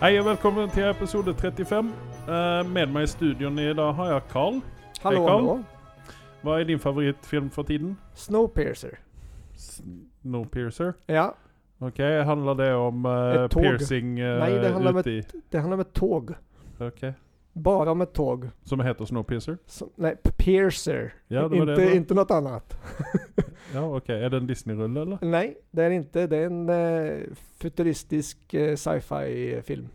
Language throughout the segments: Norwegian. Hei og velkommen til episode 35. Eh, med meg i studioen i dag har jeg Carl. Hallo, Hei, Carl. hallo. Hva er din favorittfilm for tiden? Snowpiercer. Snowpiercer. Ja, Ok, handler det om eh, Et tog. piercing eh, Nei, det handler om uti det handlar om ett tåg. Ok. Bara om ett tåg. Som heter Snowpiercer? Som, nej, p- piercer. Ja, det var inte, det jag sa. inte något annat. Ja, ok. Er det en Disney-rulle, eller? Nej, det är inte. Det är en eh, futuristisk eh, sci-fi film.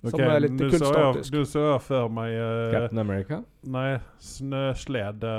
Som Ok, er nå litt så jeg, kunststatisk. nå så jeg for meg eh, Captain America? Nei, snøslede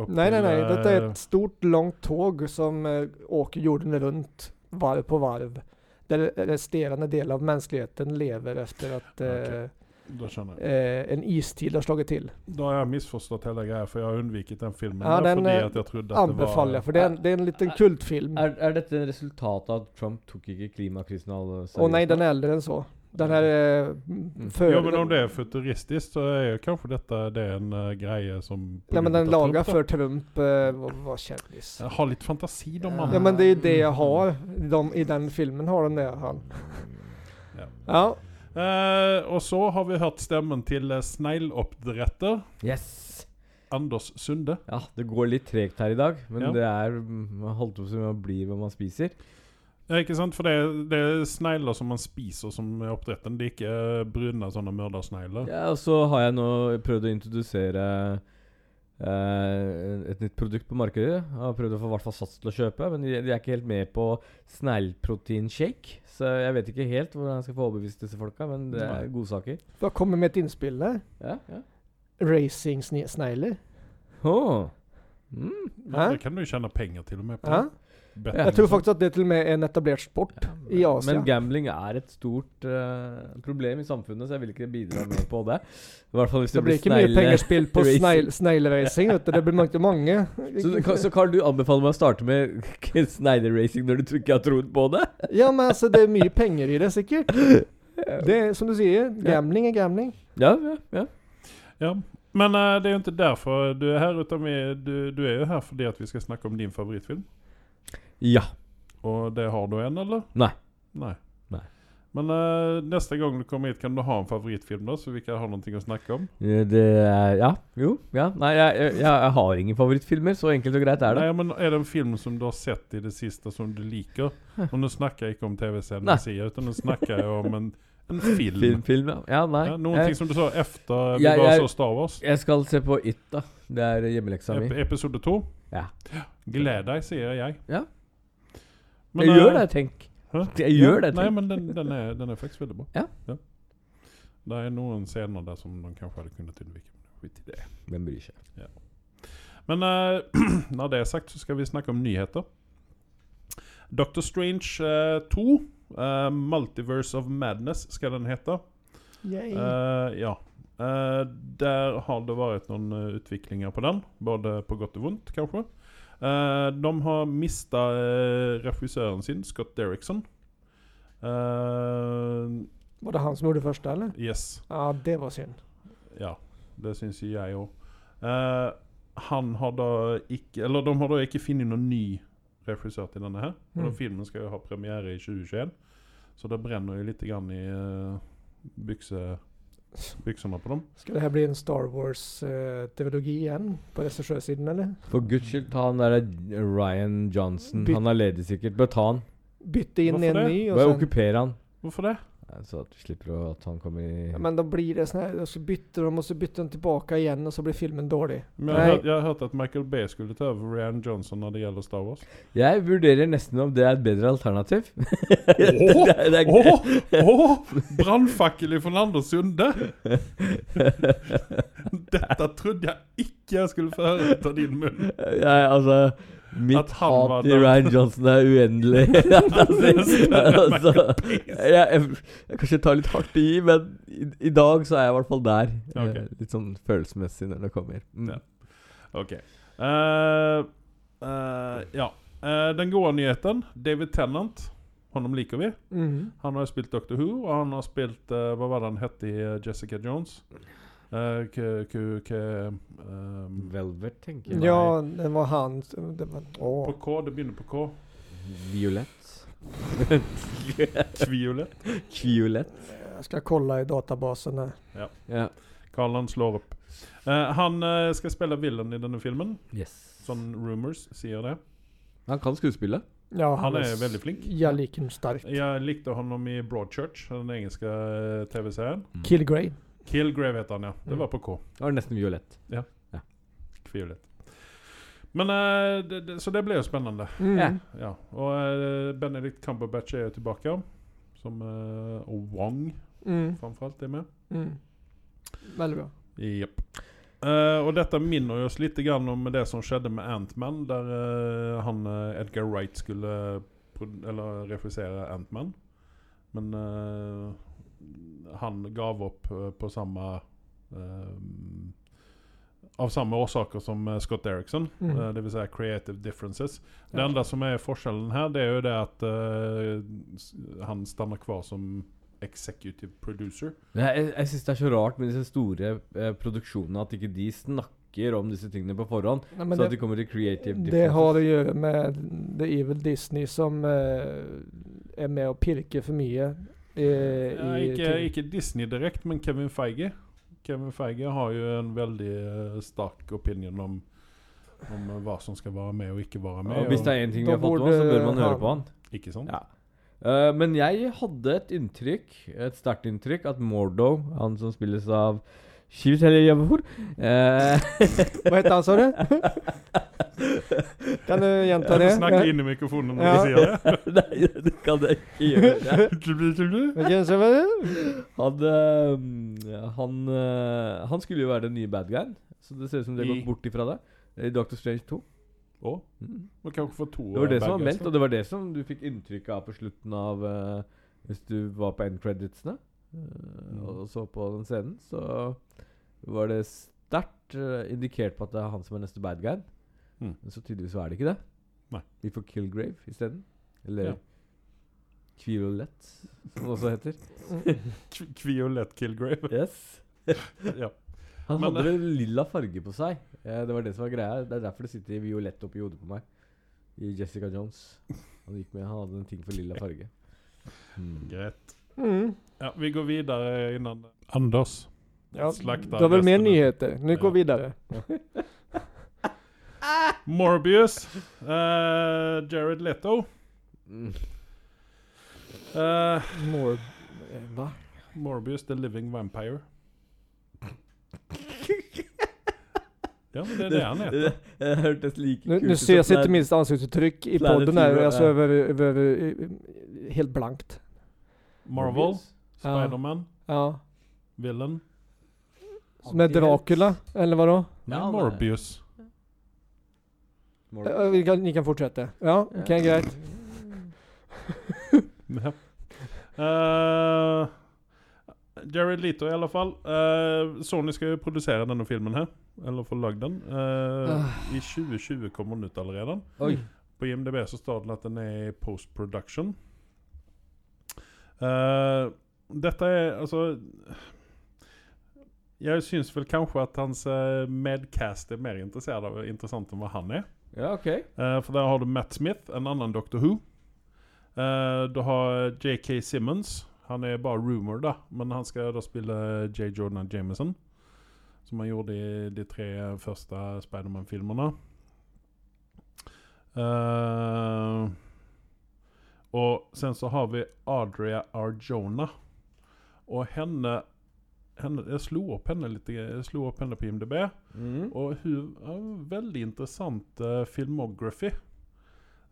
opp Nej, nej, nej. til, eh, Detta är ett stort, långt tåg som eh, åker jorden runt varv på varv. Där resterande del av mänskligheten lever efter att eh, Okej. Da skjønner jeg. eh, en istid har slagit till. Da har jeg misforstått hele greia, for jeg har unnviket den filmen. Ja, der, den, fordi eh, at jeg trodde at det var Anbefaller jag, för det är en, det är en liten Ä- kultfilm. Er, er dette en resultat av at Trump tok ikke klimakrisen all seriøst? Å nei, den er eldre enn så. Den her eh, m- før Jo, men om det er futuristisk, så er jo kanskje dette det er en eh, greie som Nei, men den laga for før Trump eh, var, var kjendis. Ja. Ha litt fantasi, da, mann. Ja, men det er jo det jeg har. De, I den filmen har den det, han. Ja. Ja. Eh, og så har vi hørt stemmen til eh, snegloppdretter Yes! Anders Sunde. Ja, det går litt tregt her i dag, men Ja. det er mm, Man holdt på som man blir hva man spiser. Ja, ikke sant? For det, er- det er snegler som man spiser, som er oppdretten. Det er ikke eh, brune sånne mørdersnegler. Ja, og så har jeg nå prøvd å introdusere eh, et nytt produkt på markedet. Jeg har prøvd å få i hvert fall Sats til å kjøpe, men de, de er ikke helt med på sneglproteinshake. Så jeg vet ikke helt hvordan jeg skal få overbevist disse folka, men det Nei. er godsaker. Da kommer med et innspill der. Ja, ja. Racing sne- snegler. Åh. Mm. Ja, Hæ? det kan du tjene penger til og med på. Ja. Betting Ja. og Jeg tror sånt. faktisk at det til og med er en etablert sport i Asia. Eh, Men gambling er et stort eh, problem i samfunnet, så jeg vil ikke bidra mer på det. I hvert fall hvis det det blir blir ikke mye snegle. pengespill på racing. snegle- snegleracing, vet du. Det blir ikke mange. Så, du kan- så Carl, du anbefaler meg å starte med snegleracing når du tror ikke jeg har troen på det? Ja, men altså, det er mye penger i det, sikkert. Det er som du sier, gambling er gambling. Ja, ja, ja. Ja. Men eh, det er jo ikke derfor du er her, utan vi, du, du er jo her fordi at vi skal snakke om din favorittfilm. ja. Og det har du en, eller? Nei. Nei. Nei. Men eh, neste gang du kommer hit, kan du ha en favorittfilm, da, så vi kan ha noe å snakke om? Eh, Det er Ja. Jo. Ja. Nei, jeg, jeg, jeg har ingen favorittfilmer. Så enkelt og greit er det. Nei, men Er det en film som du har sett i det siste som du liker? Og nå snakker jeg ikke om Nei. TV-serien, sier, utan nå snakker jeg om en, en film. Film, film ja. ja. Nei. Ja, noen jeg, ting som du sa etter vi Jeg- bare jeg- så Star Wars. jeg skal se på It, da. Det er hjemmeleksa mi. Ep episode to. Ja. Gled deg, sier jeg. Ja. Men, Jeg eh, gjør det, tenk. Hæ? Jeg gjør det, Nei, tenk. men den, den, er, den er faktisk veldig bra. Ja. Det er noen scener der som de kanskje hadde kunnet unnvike. men Skit i det. Hvem bryr seg? Men eh, når det er sagt, så skal vi snakke om nyheter. Doctor Strange eh, 2, eh, Multiverse of Madness, skal den hete. Eh, ja. Eh, der har det vært noen eh, utviklinger på den, både på godt og vondt, kanskje. Eh, de har mista eh, regissøren sin, Scott Derrickson. Eh, Var det han som gjorde det første, eller? yes. Ja, det var synd. Ja, det syns jo jeg òg. Eh, han har da ikke Eller de har da ikke funnet noen ny regissør til denne her. Og den Mm. filmen skal jo ha premiere i 2021, så det brenner jo litt grann i eh, bykse, byksene på dem. Skal det her bli en Star Wars-teologi igjen på regissørsiden, eller? For guds skyld, ta han derre Ryan Johnson. Bytt- Han er ledig sikkert. Bare ta han. Bytte inn Varför en det? ny, og Bare sen, okkuper han. Hvorfor det? Nei, Så at du slipper å, at han kommer i ja, Men da blir det sånn her, og så bytter de, og så bytter de tilbake igjen, og så blir filmen dårlig. Men jeg, Nei. hør, jeg har hørt at Michael Bay skulle ta over Rian Johnson når det gjelder Star Wars. Jeg vurderer nesten om det er et bedre alternativ. det, er- det er- Åh! Åh! Brannfakkel ifra Anders Sunde! Dette trodde jeg ikke jeg skulle få høre ut av din munn. Jeg, altså Mitt At han var hat til den- Ryan Johnson er uendelig. altså, altså, jeg, jeg, jeg kanskje tar litt hardt i, men i, i dag så er jeg i hvert fall der. Ok. Eh, Litt sånn følelsesmessig når det kommer. Mm. Ja. OK. Eh, eh, ja. Eh, den gode nyheten. David Tennant. Honom liker vi. Mhm. Han har jo spilt Doctor Who, og han har spilt eh, Hva var det han het i eh, Jessica Jones? Eh, k k k ehm, Velvet, tenker jeg. Ja, det var han som- det var, På Åh. K, det begynner på K. Violett. Kviolett. Kviolett. Jag ska kolla i databasen här. Ja. Karlan slår opp. Eh, han eh, skal spille villain i denne filmen. Yes. Sånn rumors sier det. Han kan skuespille. Ja, Han är s- väldigt flink. Jag liker honom starkt. Jeg likte honom i Broadchurch, den engelske eh, TV-serien. Killgrave. Killgrave heter han, ja. Det Mm. var på K. Det var nesten violett. Kviolett. Men eh, det, det, Så det blir jo spennende. Mm. Ja. Ja. Og eh, Benedict Cumberbatch er jo tilbake. Som, eh, og Wong Mm. framfor alt er med. Mm. Väldigt bra. Japp. Eh, og dette minner oss litt grann om det som skjedde med Antman, der eh, han eh, Edgar Wright skulle pro- eller regissere Antman. Men eh, han gav opp eh, på samme eh, Av samme årsaker som eh, Scott Derrickson, Mm. eh, det vil Si creative differences. Det Ja. enda som er forskjellen her, det er jo det at eh, s- han stanner kvar som executive producer. Jeg, jeg syns det er så rart med disse store eh, produksjonene at ikke de snakker om disse tingene på forhånd. Nej, men så det, at de kommer til creative det har differences. att göra med The Evil Disney som eh, är med och pirkar för mycket. eh, Ja, i ikke, ting. ikke Disney direkte, men Kevin Feige. Kevin Feige har jo en veldig eh, sterk opinion om, om eh, hva som skal være med og ikke være med. Og hvis det er én ting vi Da har fått nå, burde så bør man høre han- på han. Ikke sant? Ja. Eh, men jeg hadde et inntrykk, et sterkt inntrykk, at Mordo, han som spilles av Shiv eh, Teljavor Vad hette han sa du? kan du gjenta det? Snakk inn i mikrofonen når Ja. du sier det. Nei, det kan jeg ikke gjøre. Vilken som var det? Han, eh, han, eh, han skulle jo være den nye bad guyen, så det ser ut som det har I- gått bort ifra det. I Doctor Strange 2. Å, Mm. man kan jo ikke få to Det var det av som var begge, meldt, så. og det var det som du fikk inntrykk av på slutten av eh, Hvis du var på end creditsene eh, Mm. og så på den scenen, så var det sterkt eh, indikert på at det er han som er neste bad guy. Mm. Men så tydeligvis så er det ikke det. Nei. Vi får Killgrave isteden. Eller Ja. Kviolett, som det også heter. Kv- Kviolett Kilgrave. Yes. ja. Han Men eh, hadde en lilla farge på seg. Eh, det var det som var greia. Det er derfor det sitter i violett oppi hodet på meg. I Jessica Jones. Han gikk med, han hadde en ting for lilla farge. Mm. Greit. Mm. Ja, vi går videre innan Anders. Ja, Slaktar du har väl mer resten av- nyheter? Nu Ja. går vi vidare. Morbius. Eh, Jared Leto. Mm. Eh, More. Va? Morbius the Living Vampire. Ja, men det er det han heter. Hmm. Det, det hørtes like Nu, kult nu ut ser jag som inte det minst ansiktsuttryck i Planet podden här, Hero, alltså ja. över, över, över, helt blankt. er Marvel, Morbius. Spiderman, Ja. Villain. Med Antihelt. Dracula, eller vadå? Nei, Ja, han er- Morbius. Morbius. Ja, Eh, vi kan, ni kan fortsätta. Ja, okej grejt. Ja. Eh, Jared Leto, i alle fall. Eh, Sony skal jo produsere denne filmen her. Eller få lagd den. Eh, Ah. Ah. I 2020 kommer den ut allerede. Oi. På IMDb så står det at den er i post-production. Eh, dette er altså Jeg syns vel kanskje at hans eh, medcast er mer interessert av, interessant enn hva han er. Ja, OK. Eh, for der har du Matt Smith, en annen Doctor Who. Eh, du har JK Simmons. Han er bare rumor, da, men han skal da spille J. Jordan Jameson. Som han gjorde i de tre første Spiderman-filmene. Eh, og sen så har vi Adria Arjona. Og henne, henne Jeg slo opp henne litt, jeg slo opp henne på IMDb. Mm. Og hun har en veldig interessant eh, filmography.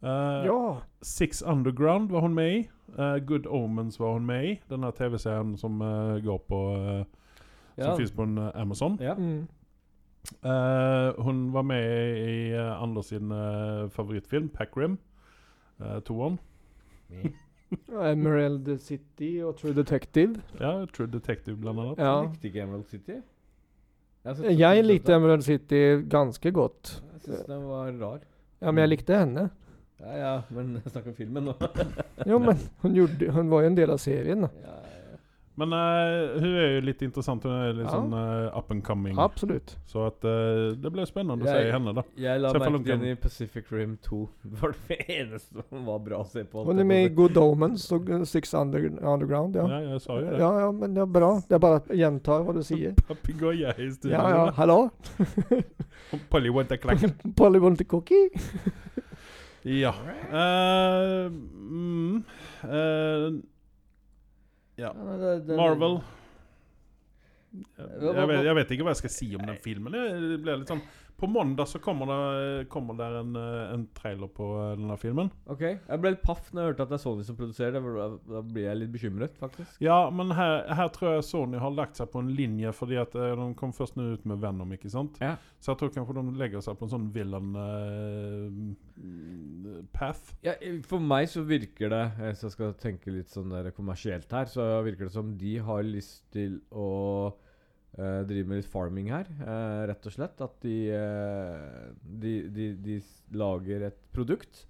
Eh, Ja. Six Underground var hon med i. Eh, Good Omens var hon med i. Den här tv-serien som eh, går på eh, Ja. Som finns på en, eh, Amazon. ja. Mm. Eh, hon var med i eh, Anders sin eh, favoritfilm, Pac Rim. Eh, toan. Mm. Emerald City og True Detective. Ja, True Detective bland annat. Ja. Likte ikke Emerald City. Jeg synes- Jeg likte Emerald City ganske godt. Jeg syns den var rar. Ja, Mm. men jeg likte henne. Ja ja, men snakk om filmen nå. Jo, men hun, gjorde, hun var jo en del av serien. Ja, ja. Men eh, hun är ju lite intressant, hon är Ja. liksom eh, up and coming. Absolut. Så att eh, det blir spännande att Jag- se henne då. Jeg la Se på merke til Logan. henne i Pacific Rim 2. Det var det eneste som var bra å se på. Hon är med i Good Omens och eh, Six Under Underground. Ja. Ja, jag sa ju det. Ja, ja, men det är bra. Det är bara att jämtar vad du säger. Papegoja i studion. Ja, ja, hallå? Polly Winter Clack. Polly Bunty Cookie? Ja. Eh, mm, eh, ja. Ja, men det- det- Marvel. hva- Jeg vet, jeg vet ikke hva jeg skal si om den filmen. Det blir litt sånn På mandag så kommer det, kommer der en, eh, en trailer på eh, denne filmen. Ok, Jeg ble litt paff når jeg hørte at det er Sony som produserer det. for Da, da blir jeg litt bekymret, faktisk. Ja, men her, her tror jeg Sony har lagt seg på en linje, fordi at eh, de kom først nå ut med Venom, ikke sant? Ja. Så jeg tror kanskje de legger seg på en eh, sånn villain-path. Ja, i- for meg så virker det Hvis jeg skal tenke litt sånn der kommersielt her, så virker det som de har lyst til å eh, drive med litt farming her, eh, rett og slett. At de, eh, de, de, de s- lager et produkt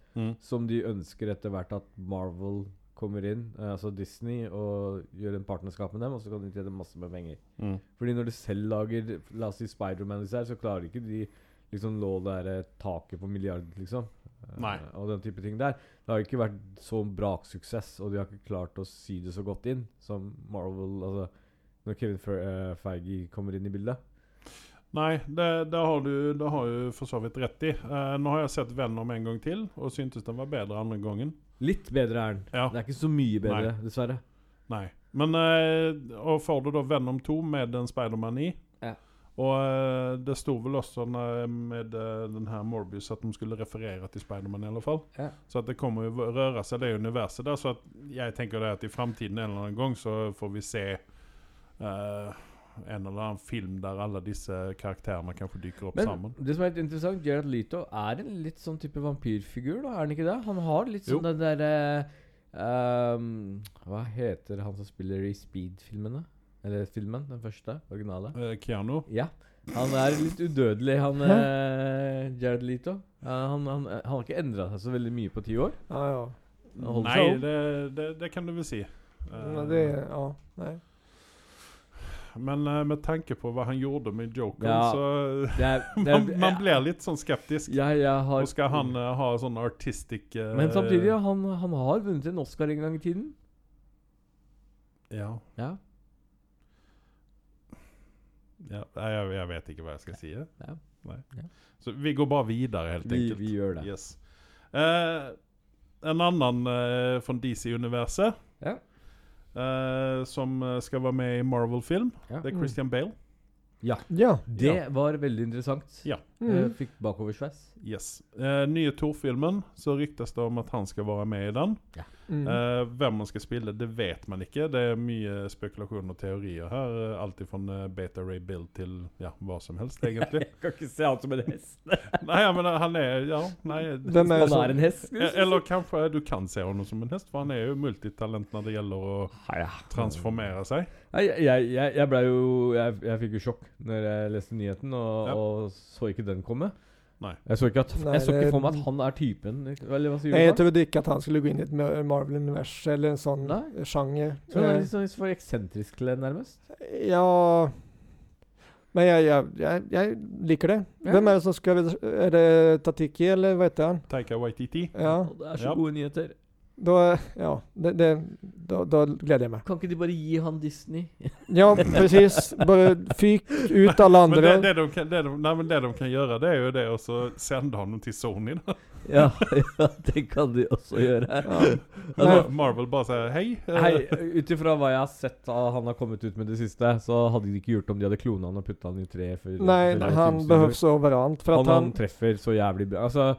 som de ønsker etter hvert at Marvel kommer inn, eh, altså Disney, og gjør en partnerskap med dem, og så kan de tjene masse med penger. Fordi når de selv lager La oss si Spiderman disse her, så klarer ikke de liksom nå det der eh, taket på milliard, liksom. Eh, Nei. Og den type ting der. Det har ikke vært så braksuksess, og de har ikke klart å sy det så godt inn som Marvel Altså når Kevin Fe eh, Feige kommer inn i bildet. Nei, det, det, har du, det har du for så vidt rett i. Eh, nå har jeg sett Venom en gang til, og syntes den var bedre andre gangen. Litt bedre er den. Ja. Det er ikke så mye bedre, dessverre. Nei. Men eh, Og får du da Venom 2 med en Spiderman i Ja. Og eh, det sto vel også når- med eh, den her Morbius at de skulle referere til Spiderman, i alle fall. Ja. Så at det kommer jo å røre seg, det universet der. Så at jeg tenker det at i framtiden en eller annen gang så får vi se eh, en eller annen film der alle disse karakterene kanskje dykker opp Men sammen. det som er litt interessant, Gerard Leto er en litt sånn type vampyrfigur, da, er han ikke det? Han har litt Jo. sånn den derre ehm, Hva heter han som spiller i Speed-filmene? Eller filmen, den første, originale? Eh, Keanu? Ja. Han er litt udødelig, han eh, Gerard Leto. Eh, han, han, han har ikke endra seg så veldig mye på ti år. Ja, ja. Han holder seg Nei, ung. det, det, det kan du vel si. Eh, Men det, ja, nej. Men eh, med tanke på hva han gjorde med Joker, Ja. så eh, Det er, det man, er, man blir litt sånn skeptisk. jeg, jeg har, Mm. Og skal han eh, ha sånn artistic eh, Men samtidig, ja, han, han har vunnet en Oscar en gang i tiden. ja. Ja, ja nei, jeg, jeg vet ikke hva jeg skal si. eh. Ja. Nei. Ja. Så vi går bare videre, helt vi, enkelt. vi gjør det. Yes. Eh, en annen eh, fra DC-universet Ja. eh, som eh, skal være med i Marvel-film, Ja. Mm. det er Christian Bale. Ja. Det var veldig interessant. Ja. Mm. Jeg fikk bakoversveis. Yes. Eh, nye Thor-filmen, så ryktes det om at han skal være med i den. Mm. Eh, hvem han skal spille, det vet man ikke. Det er mye spekulasjon og teorier her. eh, Alt fra Beta Ray Bill til ja, hva som helst, egentlig. Jeg kan ikke se han som en hest. nei, ja, men eh, han er Ja, nei Vem är det Han er som... en hest. Eh, Eller kanskje du kan se ham som en hest, for han er jo multitalent når det gjelder å Mm. transformere seg. Nei, Jeg, jeg, jeg ble jo jeg, jeg fikk jo sjokk når jeg leste nyheten og, Ja. og så ikke den komme. Nei. Jeg så ikke, at, Nei, jeg så det- ikke for meg at han er typen. liksom. Eller hva sier Nej, jag du? for? trodde inte att han skulle gå in i ett Mar- Marvel-universum eller en sån Nej. genre. Så han liksom er Eh, litt sånn for eksentrisk til det, nærmest. Ja Men jeg, jeg, jeg, jeg liker det. Ja. Hvem er det som skal Er det Tatiki, eller hva heter han? Taika Waititi. Ja. Og det er så Ja. gode nyheter. Da, ja det, det, da, da gleder jeg meg. Kan ikke de bare gi han Disney? Ja, precis. Bare fyk ut alle Men det, andre. det, de kan, det, de, nei, men det de kan gjøre, det er jo det å så sende ham til Sony. da. ja, ja, det kan de også gjøre. Ja. Mar- Marvel bare sier hei. eh, Hei, Ut ifra hva jeg har sett av han har kommet ut med det siste, så hadde de ikke gjort om de hadde klona han og putta han i tre for, Nej, for han filmstudio. behövs överallt. För han, att han han, treffer så jævlig bra. Altså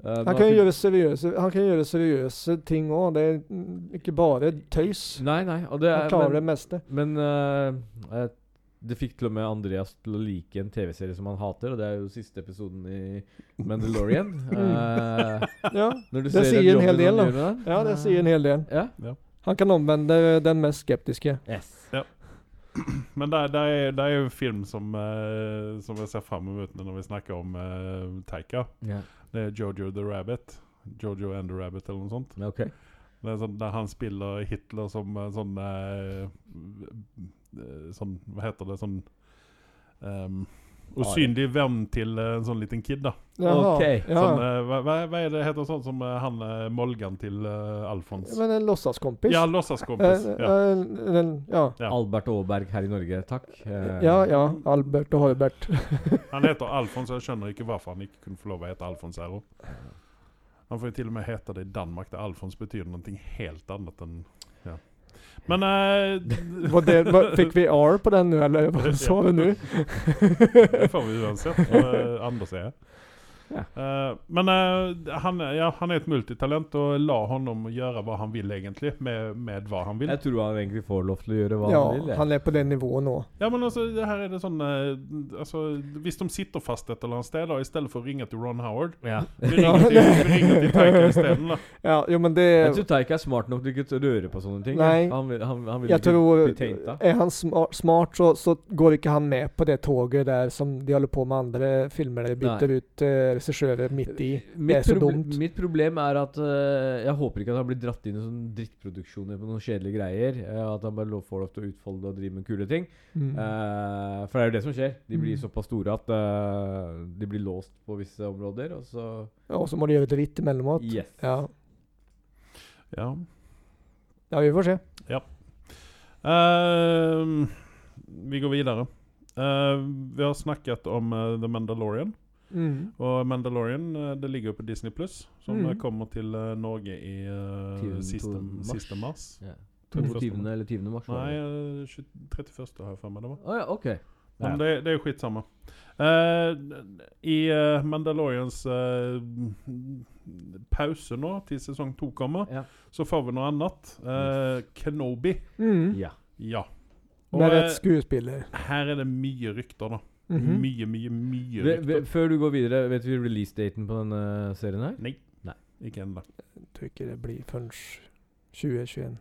eh, nå han, fikk- kan ju göra seriösa, han kan göra seriösa ting också. Det är mm, inte bara töjs. Nei, nei. Og det Han er, klarar det men mesta. men eh, eh, det fikk til og med Andreas til å like en TV-serie som han hater, og det er jo siste episoden i Mandalorian. Eh, Ja, når du Det ser den sier en hel jobben del, da. han gjør med den. ja, det säger en hel del. Ja. Han kan omvända den mest skeptiska. Yes. Men det, det, er, det er jo en film som, eh, som jeg ser fram mot når vi snakker om eh, Taika. Ja. Det er Jojo the Rabbit. Jojo and the Rabbit eller noe sånt. Ok. Det er sånn der han spiller Hitler som eh, sånn eh, eh, Sånn, hva heter det Sånn ehm, Usynlig venn til eh, en sånn liten kid, da. Jaha, Okej, ja. Sånn, eh, hva, hva hva er det heter sånn som eh, han eh, Molgan til eh, Alfons? Men en låtsaskompis? Ja, låtsaskompis. Eh, Ja. eh, en- en- ja. Ja. Albert Aaberg her i Norge, takk. Eh, ja, ja. Albert og Horbert. Han heter Alfons, og jeg skjønner ikke hvorfor han ikke kunne få lov å hete Alfons her òg. Han får jo til og med hete det i Danmark, der Alfons betyr noe helt annet enn ja. Men eh, Var det, var, fikk vi R på den nu eller vad sa vi nu? Det får vi uansett hva Anders er. Ja. Eh, men eh, han, er- ja, han er et multitalent, og la honom gjøre hva han vil, egentlig. Med, med hva han vil. Jeg tror han egentlig får lov til å gjøre hva han vil. Ja, jeg. han är på den nivån nå. Ja, men altså, det her er det sånn eh, altså, Hvis de sitter fast et eller annet sted, da, i stedet for å ringe til Ron Howard Ja. Vi ringer til, vi ringer til Tiger isteden, da. Ja, jo men Jeg det... tror Taika er smart nok til ikke å røre på sånne ting. Nei. jeg. Han vil, han, han vil Jag ikke tror... Eh, bli tainta. Är han smart, smart så, så går inte han med på det tåget där som de håller på med andra filmer där de byter ut eh, regissörer mitt i. Det Eh, Mitt, er så proble- dumt. mitt problem er at eh, jeg håper ikke at han blir dratt inn i sånne drittproduksjoner på noen kjedelige greier. eh, at han bare lov- får lov til å utfolde og drive med kule ting. Mm. Eh, for det er jo det som skjer. De blir Mm. såpass store at eh, de blir låst på visse områder, og så Ja, och så må de göra dritt emellanåt. Yes. Ja. Ja. ja, vi får se. Ehm, vi går videre. Eh, vi har snakket om eh, The Mandalorian. Mm. Og Mandalorian eh, det ligger jo på Disney Pluss, som Mm. eh, kommer til eh, Norge i eh, 22. siste, mars. siste mars. ja. 31. 22. eller 20. mars? var Nei, det. eh, 20 31. har jeg for meg det var. Å ja, ok. Men Ja. det, det er skitsamme. Eh, I eh, Mandalorians eh, pause nå, til sesong to kommer, Ja. så får vi noe annet. Eh, Kenobi. Mm. ja. Ja. Og Med eh, rätt skuespiller. her er det mye rykter, da. Mhm. Mye, mye, mye Ve- ve- rykter. før du går videre, vet vi releasedaten på denne serien her? Nei. Nei. Ikke ennå. Tycker det blir förrän 2021.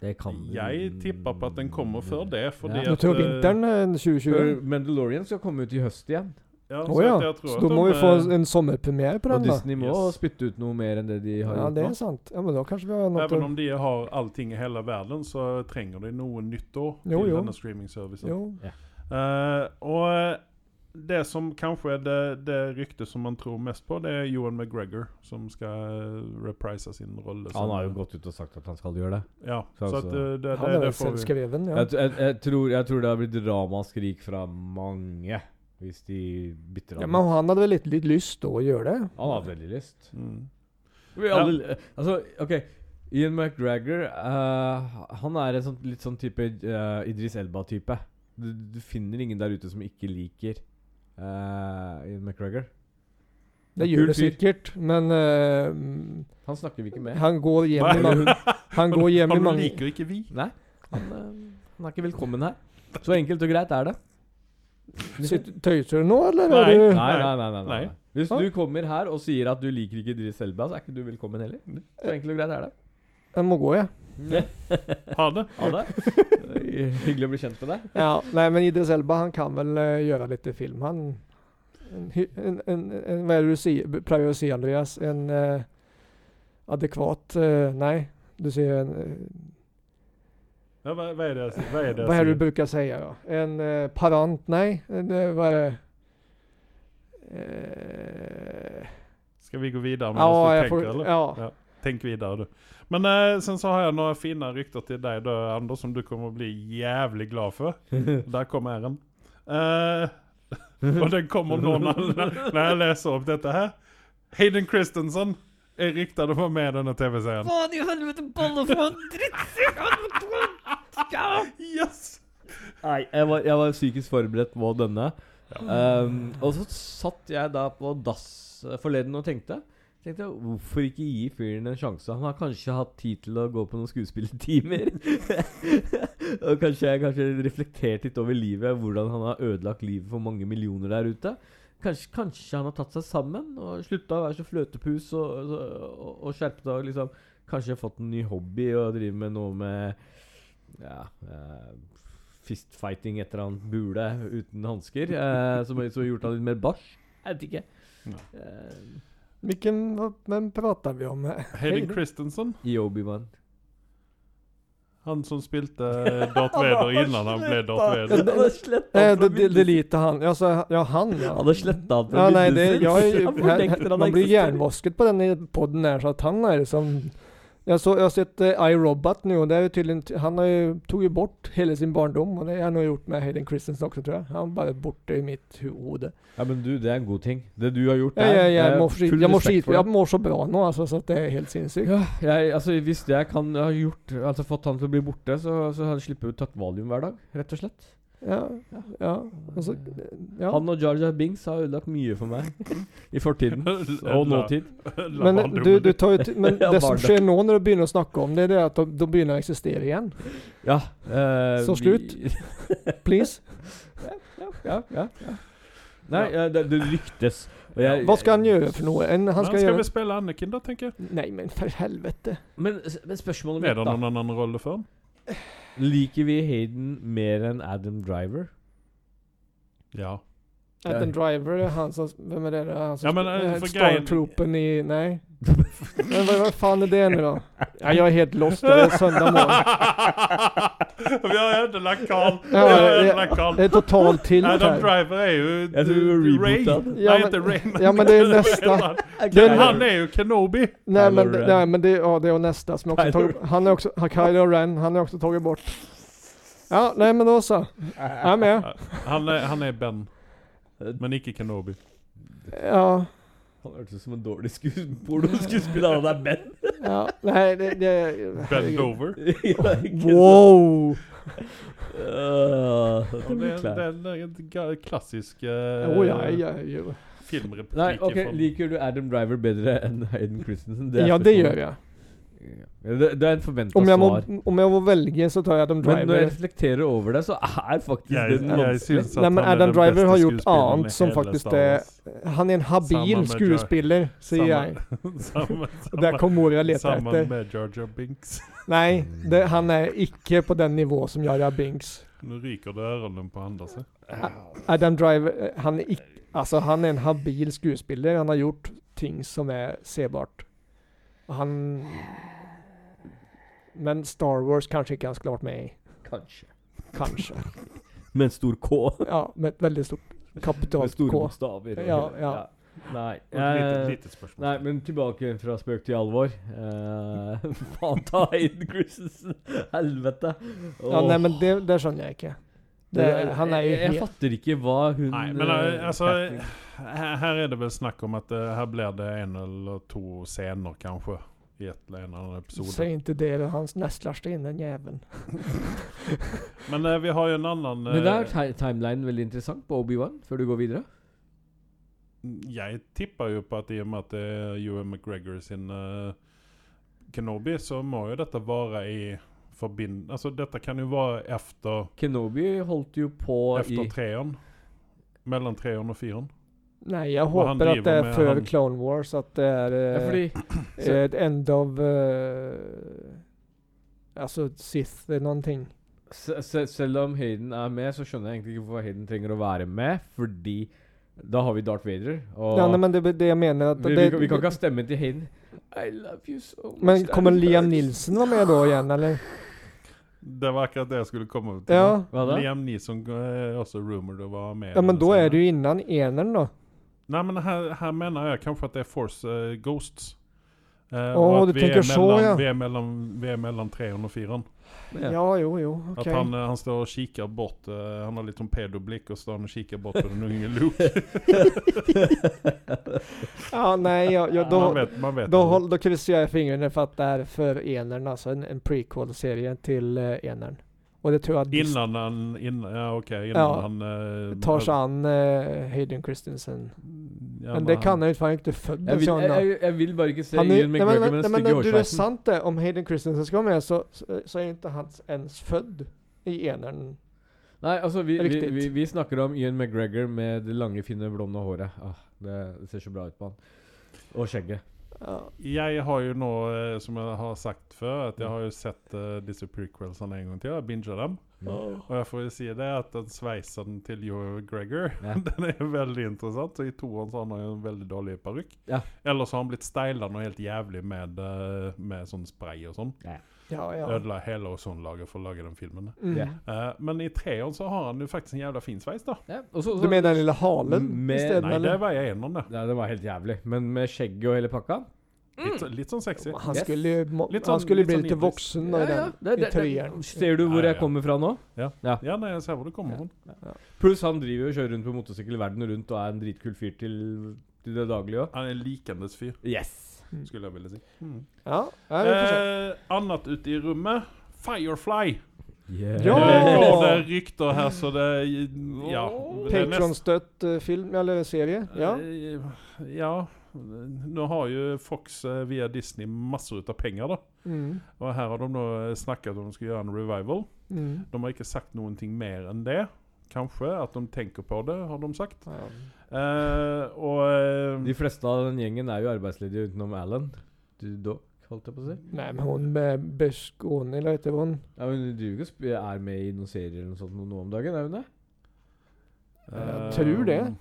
Det kan Jeg tipper på at den kommer før det. Fordi Ja. at, Jag tror eh, vintern eh, 2020. For Mandalorian skal komme ut i høst igjen. Ja, Å så ja. at jeg tror Så at då de, må vi få eh, en sommerpremiere på Og den da. Disney må Yes. spytte ut noe mer enn det de har Ja, gjort det nå. er sant. Ja, men da kanskje vi har noe Även å om de har allting i hela världen så trenger de noe nytt da Jo, til jo. denne streamingservicen. Jo. Eh, og eh, det som kanskje er det, det ryktet som man tror mest på, det er Johan McGregor som skal reprise sin rolle. som- Han har jo gått ut og sagt at han skal gjøre det. Ja, så, Så at, altså- eh, det, det, alltså- Han er det vel får vi. selvskreven, ja. Jeg, t- jeg, jeg, tror, jeg tror det har blitt ramaskrik fra mange hvis de bytter ja. ham. Men han hadde vel litt, litt lyst da å gjøre det? han har veldig lyst. Mm. Vi alle, Altså, OK. Ian McGregor eh, han er en sånn, litt sånn type eh, Idris Elba-type. Du, du finner ingen der ute som ikke liker eh, Ian McGregor. Det gjør Kul det fyr. sikkert, men eh, Han snakker vi ikke med. han går hjem i Nei. mange Han går hjem i Han mange liker ikke vi. Nei, han, eh, han er ikke velkommen her. Så enkelt og greit er det. Sitt- Tøyser du nå, eller? Nei. Er du, Nei, nei, nei. nei, nei. Nei. Hvis du kommer her og sier at du liker ikke Idris Elba, så er ikke du velkommen heller. Så enkelt og greit er det. jeg må gå, jeg. Ha det. Ha det. Eh, Hyggelig å bli kjent med deg. Ja. Nei, men Idris Elba, han kan vel eh, gjøre litt film, han. En, hy- en, en, en, hva er det du sier, prøver å si, Andreas? En eh, adekvat eh, Nei, du sier en eh, Ja, hva, hva er det jeg sier? Hva er det jeg Vad är det du sier? brukar säga då? En eh, parant? Nej, en, eh, vad är det? Eh, Skal vi gå videre? med ja, det du jag tenker, får, eller? ja. Ja. Tänk videre, du. Men eh, sen så har jeg noen fine rykter til deg, da, Anders, som du kommer å bli jævlig glad for. Der kom æren. Eh, og den kommer nå når, når jeg leser opp dette her. Hayden Christensen er ryktet å være med i denne TV-serien. Faen i helvete, bolle for en drittsekk! Yes! Nei, jeg var, jeg var psykisk forberedt på denne. Um, og så satt jeg da på dass eh, forleden og tenkte Tenkte jeg, Hvorfor ikke gi fyren en sjanse? Han har kanskje hatt tid til å gå på noen skuespillertimer. og kanskje jeg kanskje reflektert litt over livet, hvordan han har ødelagt livet for mange millioner der ute. Kanskje, kanskje han har tatt seg sammen og slutta å være så fløtepus og, og, og skjerpet seg. og Liksom, kanskje fått en ny hobby og driver med noe med ja, eh, fistfighting etter han bule uten hansker. Eh, som som har gjort han litt mer barsk. Jeg vet ikke. Ja. Eh, Vilken, vad- vem pratar vi om? här? Hayden Christensen. I Obi-Wan. Han som spilte eh, Darth Vader innan han ble Darth Vader. Han har sletta Nej, Eh, han fra då de- minnet delete han. Ja, så, ja han ja. Han har sletta han fra Ja, nej, det, minnet jag är sitt. ju, Han här, fornekter han man blir eksisterer. hjärnvasket på den i podden här så att han är som... Jag, så, jag har sett eh, iRobot nu och det är ju tydligen, han har ju, tog ju bort hela sin barndom och det har han nog gjort med Hayden Christensen också tror jag. Han bara är borta i mitt huvud. Ja, men du, det er en god ting. Det du har gjort, Jag, jeg jeg, eh, mår, skit- full jag, mår, respekt skit, for jag det. mår så bra nu alltså så att det är helt sinnssykt. Ja, jeg, altså Hvis jeg kan ha gjort Altså fått han til å bli borte, så, så hadde jeg sluppet ut tatt valium hver dag. Rett og slett. Ja, ja, altså, ja. Han og Jar Jar Bings har ødelagt mye for meg i fortiden og nåtid. La Men, eh, barndommen du, du din. tar ju t- men Ja, det som barndom. sker nå når du begynner å snakke om det, det er at de, de begynner å eksistere igjen. Ja. eh, Så slutt. vi- Please. Ja, ja, ja, ja. Nei, eh, det, det ryktes. Og jeg- Hva skal han gjøre for noe? En, han Han skal skal gjøre väl spela Anakin då, tänker jag. Nei, men for helvete. Men, s- men spørsmålet Är mitt, det da. någon annan roll för honom? Liker vi Hayden mer enn Adam Driver? Ja. Adam Driver, det är han som... Vem är det? Det är Han som Ja, men, sp- eh, eh, för grejen- Stormtroopen i... Nej. men vad, vad fan är det nu då? Ja, jag är helt lost. Det är söndag morgon. Vi har ödelagt Karl. Vi Ja, har ja, ja. ödelagt Karl. Det är total tilt Adam här. Driver är ju... Jag tror vi du- har Ray. rebootat. Ja, Nej, men- inte Ray, men... ja, men det är nästa. Det är- Han är ju Kenobi. Nej men, Kylo Ren. nej, men det, ja, det är nästa som jag också Kylo tagit, Han är också... Han, Kylo Ren, han har också tagit bort. Ja, nej men då så. Jag är med. Han är, han är Ben. Men icke Kenobi. Ja. Han hørtes ut som en dårlig skues- pornoskuespiller. Han er Ben. ja nej, det... det Ben herregud. Dover. Wow! Uh, Ja, Det är en- det är en ga- klassisk eh, Oh, ja, ja, ja. filmreplik Nei, ok, ifrån- Liker du Adam Driver bedre enn Hayden Christensen? ja, det gör jag. jeg. Det, det er en forventa Om jag, må, svar. om jag må välja så tar jag Adam Men eh, når jeg Driver. reflekterer over det, så er faktisk Jag, det den jag, vanskelig. syns att Nej men han är Adam den Driver bästa har gjort skådespelaren i annat som hela faktiskt Star är... Wars. Han är en Samma habil med skådespelare, säger Samma- jag. samma, Och där kommer jag att leta samma efter. med Jar Jar Binks. Nej, det, han är icke på den nivå som Jar Jar Binks. Nu ryker det öronen på Anders. Adam Driver, eh, han är icke, Alltså han är en habil skådespelare. Han har gjort ting som är sebart. Och Han... Men Star Wars kanske inte han skulle ha varit med i. Kanskje. Kanske. Med en stor K. Ja, med ett väldigt stort Med kapitalt store K. bokstaver. Ja, ja. Nei. Och ett litet, eh, litet spörsmål. Nei, men tilbake fra spøk til alvor. Eh, faen ta Hayden Christensen! Helvete! Ja, Åh. nej men det, det skönjer jag inte. Det, han är ju jeg, jeg helt... fatter ikke hva hun Nej, men eh, eh, alltså, Catherine- här här är det väl snack om att eh, här blir det en eller två scener kanske. I ett eller en annan Säg episod. inte det, det är hans nästlarste in den jäveln. Men eh, vi har ju en annan... Men eh, der er ti timelinen veldig interessant på Obi-Wan, før du går videre. Jag tippar ju på att i och med att det är Ewan McGregor i sin eh, Kenobi så må ju detta vara i förbind... Alltså detta kan ju vara efter, Kenobi holdt jo på efter i trean. Mellan trean och fyran. Nej, jag Vad han hoppas att det driver er med, för han- Clone Wars, att det är ja, eh, fordi, eh, ett end of... Eh, alltså Sith eller någonting. se- se- Selv om Hayden er med, så skjønner jeg egentlig ikke hvorfor Hayden trenger å være med. Fordi da har vi Darth Vader. Og Ja, nej, men det är det jag menar. Att vi, vi, det, kan- vi kan ikke ha stemmen til Hayden. I love you so much. men kommer Adam Liam Driver. Nilsson vara med då igen eller? Det var akkurat det jag skulle komma till. Ja. Hva da? Liam Neeson eh, är också rumored att vara med. i Ja men den då är scenen. det ju innan enern då. Nej men här, här menar jag kanske att det är Force eh, Ghosts. Eh, Åh, och att du vi tänker är så, mellan, ja. Vi är mellan, vi är mellan trean og fyran. Ja. Ja, jo, jo, okej. Att han, eh, han står och kikar bort, eh, han har lite en pedoblick och står han och kikar bort på den unge Luke. Ja, nej, jag, jag, då, man vet, man vet Då, aldrig. håll, då kryssar jag i fingrarna för att det är för Enern, alltså en, en prequel-serie till eh, Enern. Och det tror jag att Disney Innan han, innan, ja okej, innan Ja, han... Eh, mm, tar sig an eh, Hayden Christensen. Ja, men det kan han ju inte, för han är inte född Jeg ens vil, i jeg, Anna. jeg, jeg vil bare ikke se Han är, Ian ju- nej, McGregor men, med nej, den men stygge du, det är hårsveisen. sant det. Om Hayden Christensen ska vara med så, så, så är ju inte han ens född i Enern. Nei, altså, vi, vi, Riktig. vi, vi snakker om Ian McGregor med det lange, fine, blonde håret. Ah, det, det ser så bra ut på han. Og skjegget. Ja. Jag har ju nå, eh, som jag har sagt för att jag har ju sett eh, dessa prequels en gång till, jag bingear dem. Og jeg får jo si det at den sveisen til Joe Gregor Den er veldig interessant. Så I toeren så har han jo en veldig dårlig parykk. Ja. Eller så har han blitt styla noe helt jævlig med, eh, med sånn spray og sånn. Ja, ja. Ødela hele ozonlaget for å lage den filmen. Mm. Ja. Eh, men i treeren så har han jo faktisk en jævla fin sveis, da. Ja, og så- Du så- mener den lille halen Med- isteden, Nei, det eller? var jeg enig om, det. Nei, det var helt jævlig. Men med skjegget og hele pakka Litt, så- litt sånn sexy. Han Yes. skulle, jo må- Litt han sånn- skulle litt bli sånn litt ibis. voksen nå i den, Det- i det- treeren. det- Ser du hvor Ja, jeg ja. kommer fra nå? Ja, nei, jeg ser hvor du kommer fra. Pluss han driver og kjører rundt på motorsykkel verden rundt og er en dritkul fyr til, til det daglige òg. Han er en likendes fyr, Yes. skulle jeg ville si. Ja, ja, vi får se. Eh, annet ute i rommet Firefly. Ja! Det går det rykter her, så det Ja. det er nesten- Patronstøtt eh, film eller serie. Ja. Eh, ja. Nå har jo Fox eh, via Disney masser ut av penger, da. Mm. Og her har de nå snakket om de skal gjøre en revival. Mm. De har ikke sagt noen ting mer enn det. Kanskje at de tenker på det, har de sagt. Ja. Eh, og De eh, fleste av den gjengen er jo arbeidsledige utenom Alan. Du dog, holdt jeg på å si. Nej men hon med Berskoni, eller heter hon? Ja, men du driver ikke og sp- er med i noen serier eller noe sånt nå om dagen, er hun det? eh, Jeg tror det.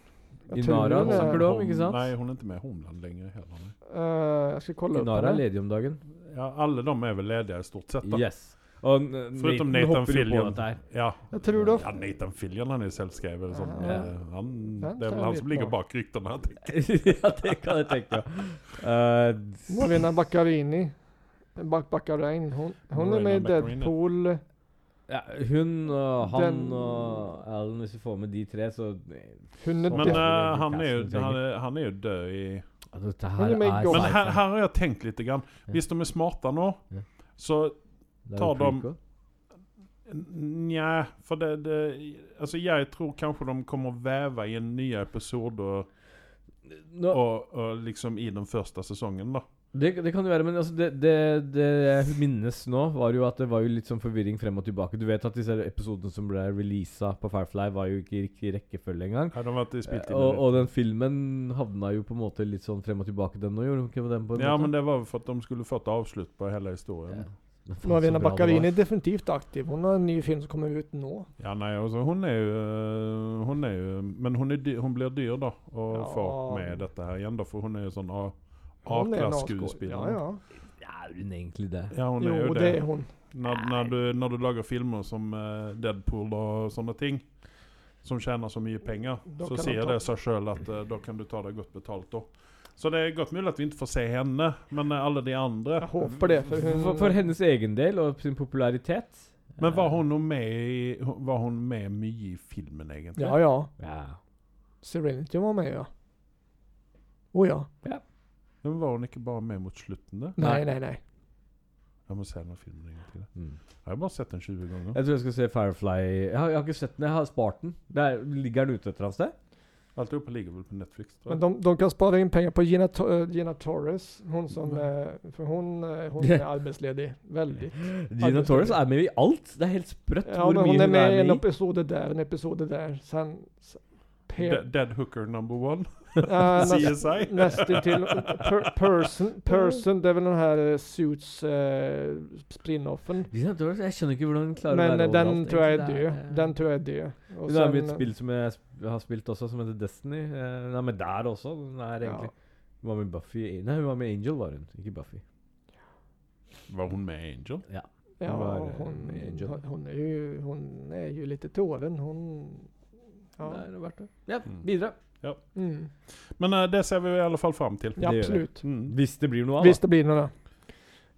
Jag Inara tror det. snakker du om, ikke sant? Nei, hun er ikke med i Homeland lenger heller. Nei. Eh, jeg skal kolla upp Inara er henne. ledig om dagen. Ja, alle de er vel ledige i stort sett, da. Yes. Og n- Foruten Nathan Nathan hopper jo på Fillion. dette her. Ja. Jeg tror det. ja, Nathan Fillion han er jo selvskrevet. Sånn. Ja. eh, Han, Den det er tar vel han vi som på. ligger bak ryktene. her. ja, det kan jeg tenke meg. Eh, Morena Baccarini. Bac Baccarin. Hon, hon är Morena med i Baccarini. Deadpool. ja, hun og han Den- og Alan, hvis vi får med de tre, så Hun Men, är Men def- eh, det- han, er jo, det- han, er, han er jo død i ja, Dette Hun her er med i er Ghost. Men her, sci-fi. her har jeg tenkt litt. Grann. Hvis de er smarte nå, Ja. så Det er tar jo dem- prequel. Nja, for det, det Altså, jeg tror kanskje de kommer å veve i en ny episode og, Nå, og, og liksom i den første sesongen, da. det, det kan jo være, men altså, det, det, det jeg minnes nå, var jo at det var jo litt sånn forvirring frem og tilbake. Du vet at disse episodene som ble releasa på Firefly, var jo ikke i riktig rekkefølge engang. Har de vært spilt inn i Og, og den filmen havna jo på en måte litt sånn frem og tilbake, den nå, gjorde den ikke den på det? en Ja, men måte? det var jo for at de skulle fått avslutt på hele historien. Men faen, så Morena bra det var. Baccarini är definitivt aktiv. Hon har en ny film som kommer ut nå. Ja, nei, altså, hun er jo øh, Hun er jo Men hun, er dy, hun blir dyr, da, å Ja. få med dette her igjen, da, for hun er jo sånn A- Hon är en A-skådis. A-klasse-skuespiller. Ja, ja. Ja, Er hun egentlig det? Ja, hun er jo Jo, det. det är hon. Når, når, du, når du lager filmer som eh, Deadpool og sånne ting, som tjener så mye penger, Da så kan sier han ta- det seg sjøl at eh, da kan du ta deg godt betalt da. Så det er godt mulig at vi ikke får se henne, men eh, alle de andre Jeg håper det. For hun, For, for hennes egen del og sin popularitet. Men var hun, nå med i, var hun med mye i filmen, egentlig? Ja, ja. Ja. Serenity var med, ja. Oh ja. Men var hun ikke bare med mot slutten? da? Nej, nej, nej. Jeg må se den filmen en gang til. Mm. Jeg har bare sett den 20 ganger. Jeg tror jeg skal se Firefly Jeg har, jeg har ikke sett den, jeg har spart den. Der, ligger den ute et eller annet sted? Alt i hop ligger vel på Netflix. Tror Men jeg. de, de kan spara in pengar på Gina, To- eh, Gina Torres. Hon som, eh, för hon, eh, hon är arbetsledig. Väldigt. Gina Torres er med i alt! Det er helt sprøtt Ja, hvor men mye hon är med i en med i. episod där, en episod där. Sen... s- De- Per, Dead Hooker number one, äh, CSI. Nästintill per, Mm. person, person, det är väl den här eh, Suits eh, spin-offen. Gina Torres, Jeg skjønner ikke hvordan hun klarer å Men være eh, den tror jag är egentlig. Det död. Den tror jag är död. Och Hun er med i et sen- spill som jeg sp- har spilt også, som heter Destiny. Eh, Hun er med der også. Hun er ja. egentlig Hun var med i Buffy Nei, hun var med i Angel, var hun. Ikke Buffy. Var hun med i Angel? Ja, Hon var, eh, hon, med i Angel. hon, hon, är ju, hon är ju lite tåren. Hon... Ja. Nei, det er verdt det. Ja, Mm. videre. Mm. Men eh, det ser vi i alle fall fram til. ja Det gör det. absolut. Mm. Hvis det blir noe av, Hvis det blir noe.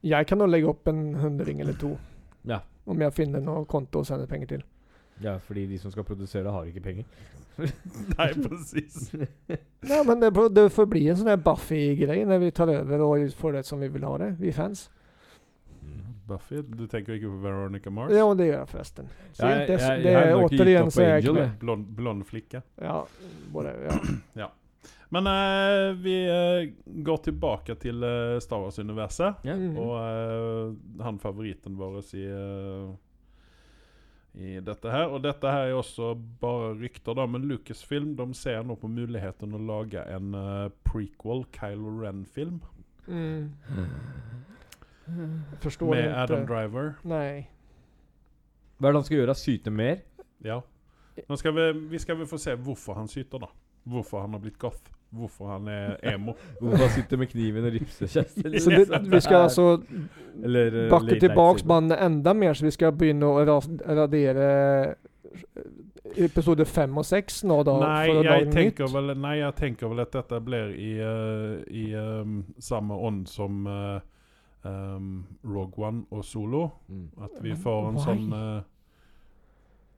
Jeg kan nå legge opp en hundring eller to. Ja. Om jeg finner noe konto å sende penger til. da. Ja, fordi de som skal produsere, har ikke penger. Nei, precis. Nei, men det, får- det får bli en sånn her Buffy-grej når vi tar over og får det som vi vil ha det, vi fans. Buffy? Du tenker ikke på Veronica Mars? Ja, og det gjør jeg forresten. Så Jeg- det, jeg- det jeg har er nok ikke gitt återigen opp så er jeg Angel, knä- jeg. Blond, blond flicka. Ja, både, ja. Men eh, vi eh, går tilbake til eh, Star Wars-universet. Ja. Mm. Og eh, han favoritten vår i, eh, i dette her. Og dette her er også bare rykter, da. Men Lucasfilm de ser nå på muligheten å lage en eh, prequel Kylo Ren-film Mm. Forstår med Mm. inte. Adam Driver. Nej. Hva er det han skal gjøre? Syte mer? Ja. Nå skal vi, vi skal vel få se hvorfor han syter, da. Hvorfor han har blitt goth. Hvorfor han er emo. Hvorfor han sitter med kniven og ripser kjeften? Så det, vi alltså skal altså Eller eh, late bakke night tilbake sitter. bandet enda mer, så vi skal begynne å ras radere episode fem og seks nå, da? Nei for å jeg, lage nytt. tenker vel, nei, jeg tenker vel at dette blir i, eh, i eh, samme ånd som eh, ehm, Rogue One og Solo. Mm. At vi Men får en why? sånn eh,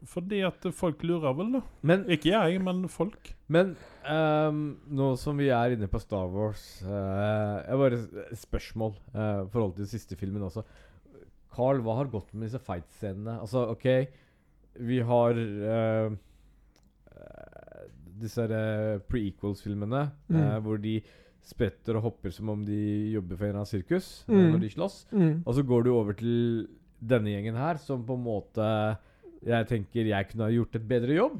Fordi at folk lurer vel, da. Men, Ikke jeg, men folk. men ehm, nå som vi er inne på Star Wars eh, Jeg bare s- Spørsmål eh, i forhold til den siste filmen også. Carl, hva har gått med disse fight-scenene? Altså, OK, Alltså, vi har eh, eh, disse her, eh, pre-equals-filmene eh, Mm. hvor de spretter og hopper som om de jobber for en eller annen sirkus eh, Mm. når de slåss. Mm. Og så går du over til denne gjengen her, som på en måte Jeg tenker jeg kunne ha gjort et bedre jobb.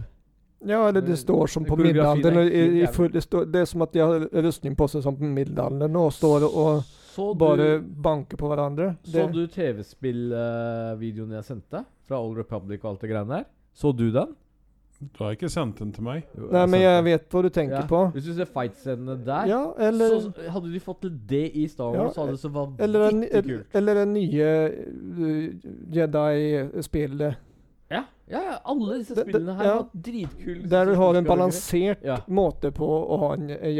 Ja, eller Mm. det står som på Koreografin er middelalderen. og i- i helt full- Det, står- det er som at de har rustning på seg som på middelalderen og står og Så du, bare banker på hverandre. så Det, du TV-spillvideoen jeg sendte? Fra Old Republic og alt det greiene der? Så du den? Du har ikke sendt den til meg. Jo, nei, men jeg sendte den. vet hva du tenker alltså. Ja. på. Hvis du ser fight-scenene der, Ja, eller så s- hadde de fått til det i Star Ja, Wars, så hadde det så Eller den, vanvittig el- kult. eller den nye eh, Jedi-spillet. Ja, ja, ja, alle disse Det- det- spillene her ja. har hatt dritkule Der du har en koreografi. balansert Ja. måte på å ha en eh,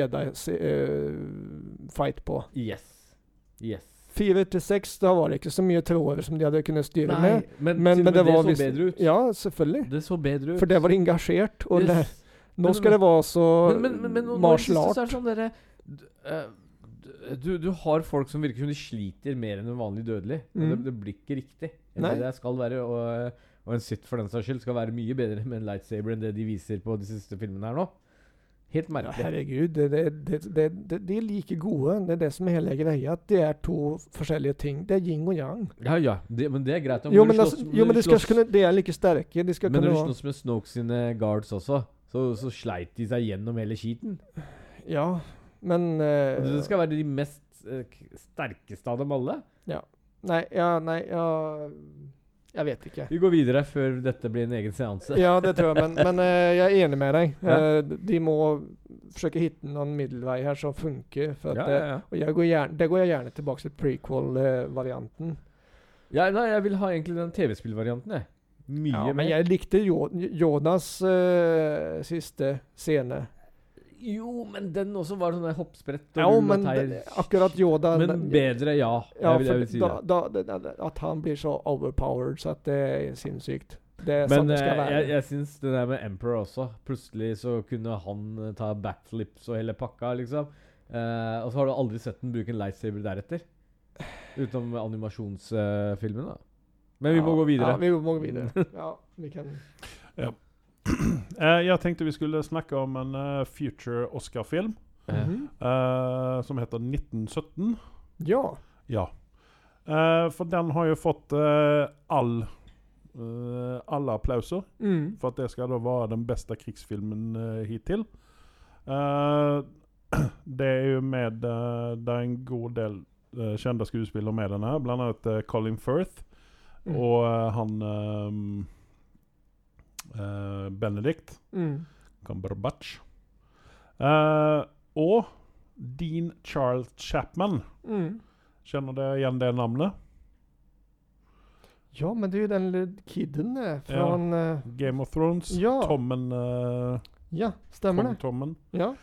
Jedi-fight på. Yes. Yes. Fire til seks, da var det ikke så mye tråder som de hadde kunnet styre Nei, med. men, Men, til og men med det var så visst- bedre ut. Ja, selvfølgelig. Det så bedre ut. For det var engasjert. Og det, Yes. nå skal det være så Men, men, men, men nå- nå i det martial siste art. så er det Sånn dere, d- eh, d- du, du har folk som virker som de sliter mer enn en vanlig dødelig. Og Det, Mm. det blir ikke riktig. Nei. Eller Det skal være, og, og en sitt for den saks skyld skal være mye bedre med en lightsaber enn det de viser på de siste filmene her nå. Helt Ja, merkelig. herregud, det, det, det, det, det, de er like gode. Det er det som er hele greia. at Det er to forskjellige ting. Det er yin og yang. Ja, ja, det, men det er greit. Jo, når men, du altså, slåss- jo, men når du de skal slåss- kunne, de er like sterke. De skal Men kunne når du ha slåss med Snokes sine guards også, så, så sleit de seg gjennom hele skiten. Ja, men eh, Det skal være de mest eh, k- sterkeste av dem alle. Nei, ja, nei, ja Jeg vet ikke. Vi går videre før dette blir en egen seanse. Ja, det tror jeg, men, men eh, jeg er enig med deg. Ja. Eh, de må forsøke å finne noen middelvei her som funker. For at, Ja, det- ja, ja. Og jeg eh, går gjerne, det går jeg gjerne tilbake til eh, prequel-varianten. Ja, nei, jeg vil ha egentlig den TV-spillvarianten, jeg. Mye Ja, men mer. jeg likte jo, Jonas eh, siste scene. Jo, men den også var sånn der hoppsprett og Ja, rull og men teier. det- akkurat Yoda Men den- bedre, ja. Ja, jeg, vil, jeg for vil si da, det. da, det- det- At han blir så overpowered, så at det er sinnssykt. Det er sånn Men det skal eh, være. jeg, jeg syns det der med Emperor også Plutselig så kunne han eh, ta backflips og hele pakka, liksom. Eh, og så har du aldri sett den bruke en lightsaber deretter. Utenom animasjonsfilmen, da. Men vi Ja, må gå Mm. videre. Ja, vi må gå videre. Ja, vi kan Eh, jeg tenkte vi skulle snakke om en eh, future Oscar-film Eh, Mhm. eh, som heter 1917. Ja. Ja. Eh, for den har jo fått eh, all eh, alle applauser Mm. for at det skal da være den beste krigsfilmen eh, hittil. Eh, det er jo med eh, Det er en god del eh, kjente skuespillere med den her, blant annet eh, Colin Firth Mm. og eh, han eh, eh, Benedict. Mm. Cumberbatch. Eh, og Dean Charles Chapman. Mm. Kjenner dere igjen det navnet? Ja, men det er jo den lille kiden eh, Ja. från eh, Game of Thrones. Ja. Tommen eh, Ja, stemmer Kong det. Tommen. Ja.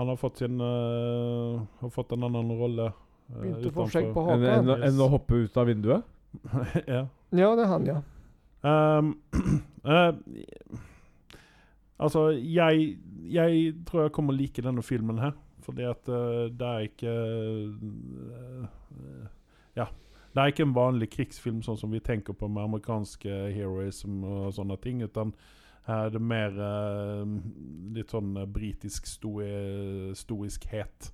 Han har fått sin eh, Har fått en annen rolle. eh, Begynte å få utenfor- skjegg på Enn enn- hakan. enn å hoppe ut av vinduet? ja. Ja, det er han, ja. Ehm, eh, altså, jeg, jeg tror jeg kommer å like denne filmen her. Fordi at eh, det er ikke eh, Ja. Det er ikke en vanlig krigsfilm sånn som vi tenker på med amerikanske heroism og sånne eh, ting. Utan her er det mer eh, litt sånn eh, britisk stoe, stoiskhet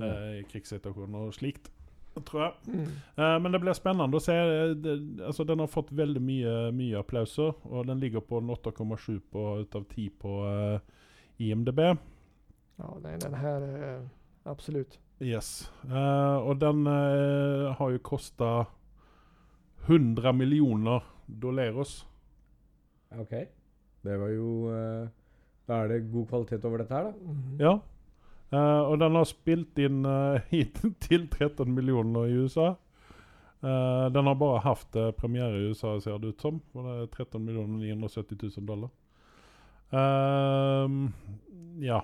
eh, i krigssituasjoner og slikt, tror jeg. Mm. Eh, men det blir spennende å se. Eh, Det, altså, den har fått veldig mye, mye applauser, og den ligger på en 8,7 på- ut av 10 på eh, IMDb. Ja, nej, den här, eh, absolut. Yes. Eh, og den eh, har jo kosta 100 millioner doleros Ok. Det var jo eh, Da er det god kvalitet over dette her, da. Mhm. Ja. Eh, og den har spilt inn eh, hittil 13 millioner i USA. Eh, den har bare hatt eh, premiere i USA, ser det ut som. Og det er 13 970 000 dollar. Ehm, ja.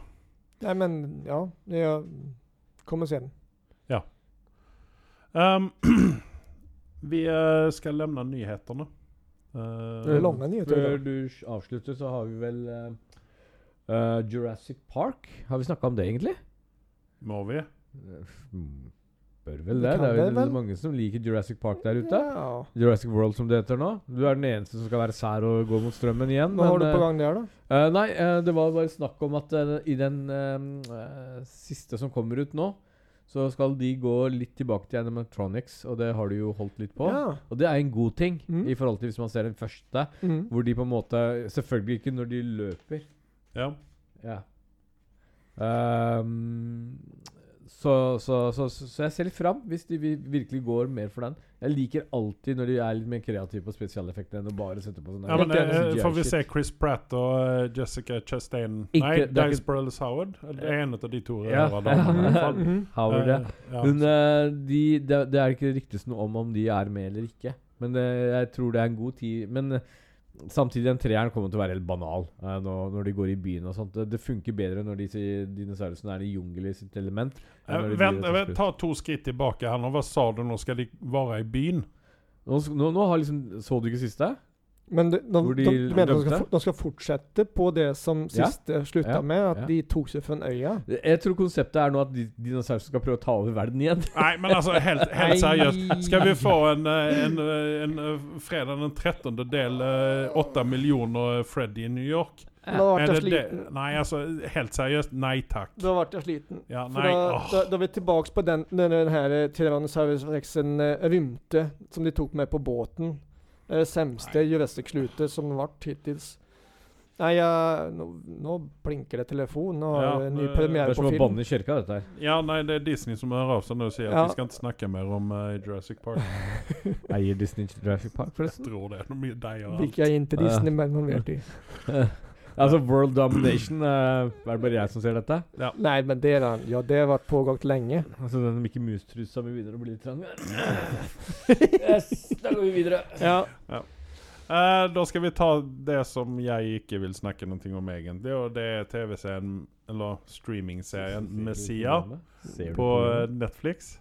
Nej men ja, jag kommer sen. Ehm, vi eh, skal levne nyhetene. Eh, Mm. Det är långa nyheter Før idag. du sj- avslutter, så har vi vel eh, eh, Jurassic Park. Har vi snakka om det, egentlig? Må vi? Mm, Bør vel Vi det. kan Det er jo det vel? mange som liker Jurassic Park der ute. Ja. Jurassic World, som det heter nå. Du er den eneste som skal være sær og gå mot strømmen igjen. Vad har men, du på eh, gång där då? Eh, nei, eh, det var bare snakk om at eh, i den eh, eh, siste som kommer ut nå, så skal de gå litt tilbake til animatronics, og det har du jo holdt litt på. Ja. Og det er en god ting Mm. i forhold til hvis man ser den første, Mm. hvor de på en måte Selvfølgelig ikke når de løper. Ja. Ja. Ehm, så, så, så, så, så jeg ser litt fram hvis de vi- virkelig går mer for den. Jeg liker alltid når de er litt mer kreative på spesialeffektene enn å bare sette på sånne ja men, eh, CGI får vi shit. se Chris Pratt og eh, Jessica Chastain Ikke- Nei, det er ikke- Dice Burles Howard. Det er en av de to Ja. røde damene. i hvert Mm. fall. Mhm. Howard, ja. Eh, ja. Men eh, de, det, det er ikke ryktes noe om om de er med eller ikke. Men eh, jeg tror det er en god tid. Men eh, samtidig, den treeren kommer til å være helt banal eh, nå, når de går i byen og sånt. Det, det funker bedre når disse dinosaurene er i jungel i sitt element. enn Eh, når de vent, blir et vent, ta to skritt tilbake her nå. Hva sa du nå? Skal de være i byen? Nå, sk- nå, nå har liksom Så du ikke siste? Men de, de, Hvor de, de de menar att de ska, dömde? for- de ska fortsätta på det som Ja. sist eh, slutade Ja. med, att Ja. de tog sig från öja. Jeg tror konseptet er nå at de, dinosaurene skal prøve å ta over verden igjen. Nei, men altså, helt, helt seriøst. Skal vi få en, eh, en, eh, en eh, fredag den 13. del eh, åtte millioner Freddy i New York? Då vart Er jag det det? sliten. Nei, altså, helt seriøst. Nei takk. Då vart jag sliten. Ja, För nei, då, åh. då, då är vi tillbaks på den, när den här eh, Tyrannosaurus rexen eh, rymte, som de tog med på båten. Eh, sämsta Jurassic-slutet som varit hittills. Nej, jag, nu, nu blinkar det telefon och Ja, ja, en ny eh, Det premiär er som på å film. banne i kirka, dette her. Ja, nei, det er Disney som hører av seg nå og sier at Ja. vi skal ikke snakke mer om eh, Jurassic Park. Eier Disney Jurassic Park, forresten? Jeg tror det er noe mye deg og alt. Vilka är inte Ja. Disney, men man vet ju. altså World Domination eh, Er det bare jeg som ser dette? Nej, men det är den. Ja, det har varit pågått länge. Altså den Mickey Mouse-trusa mi begynner å bli litt trang. yes, da går vi videre. Ja. Eh, da skal vi ta det som jeg ikke vil snakke noe om egentlig, og det er TV-serien, eller streamingserien Messia. Ser du på eh, programmet? Netflix.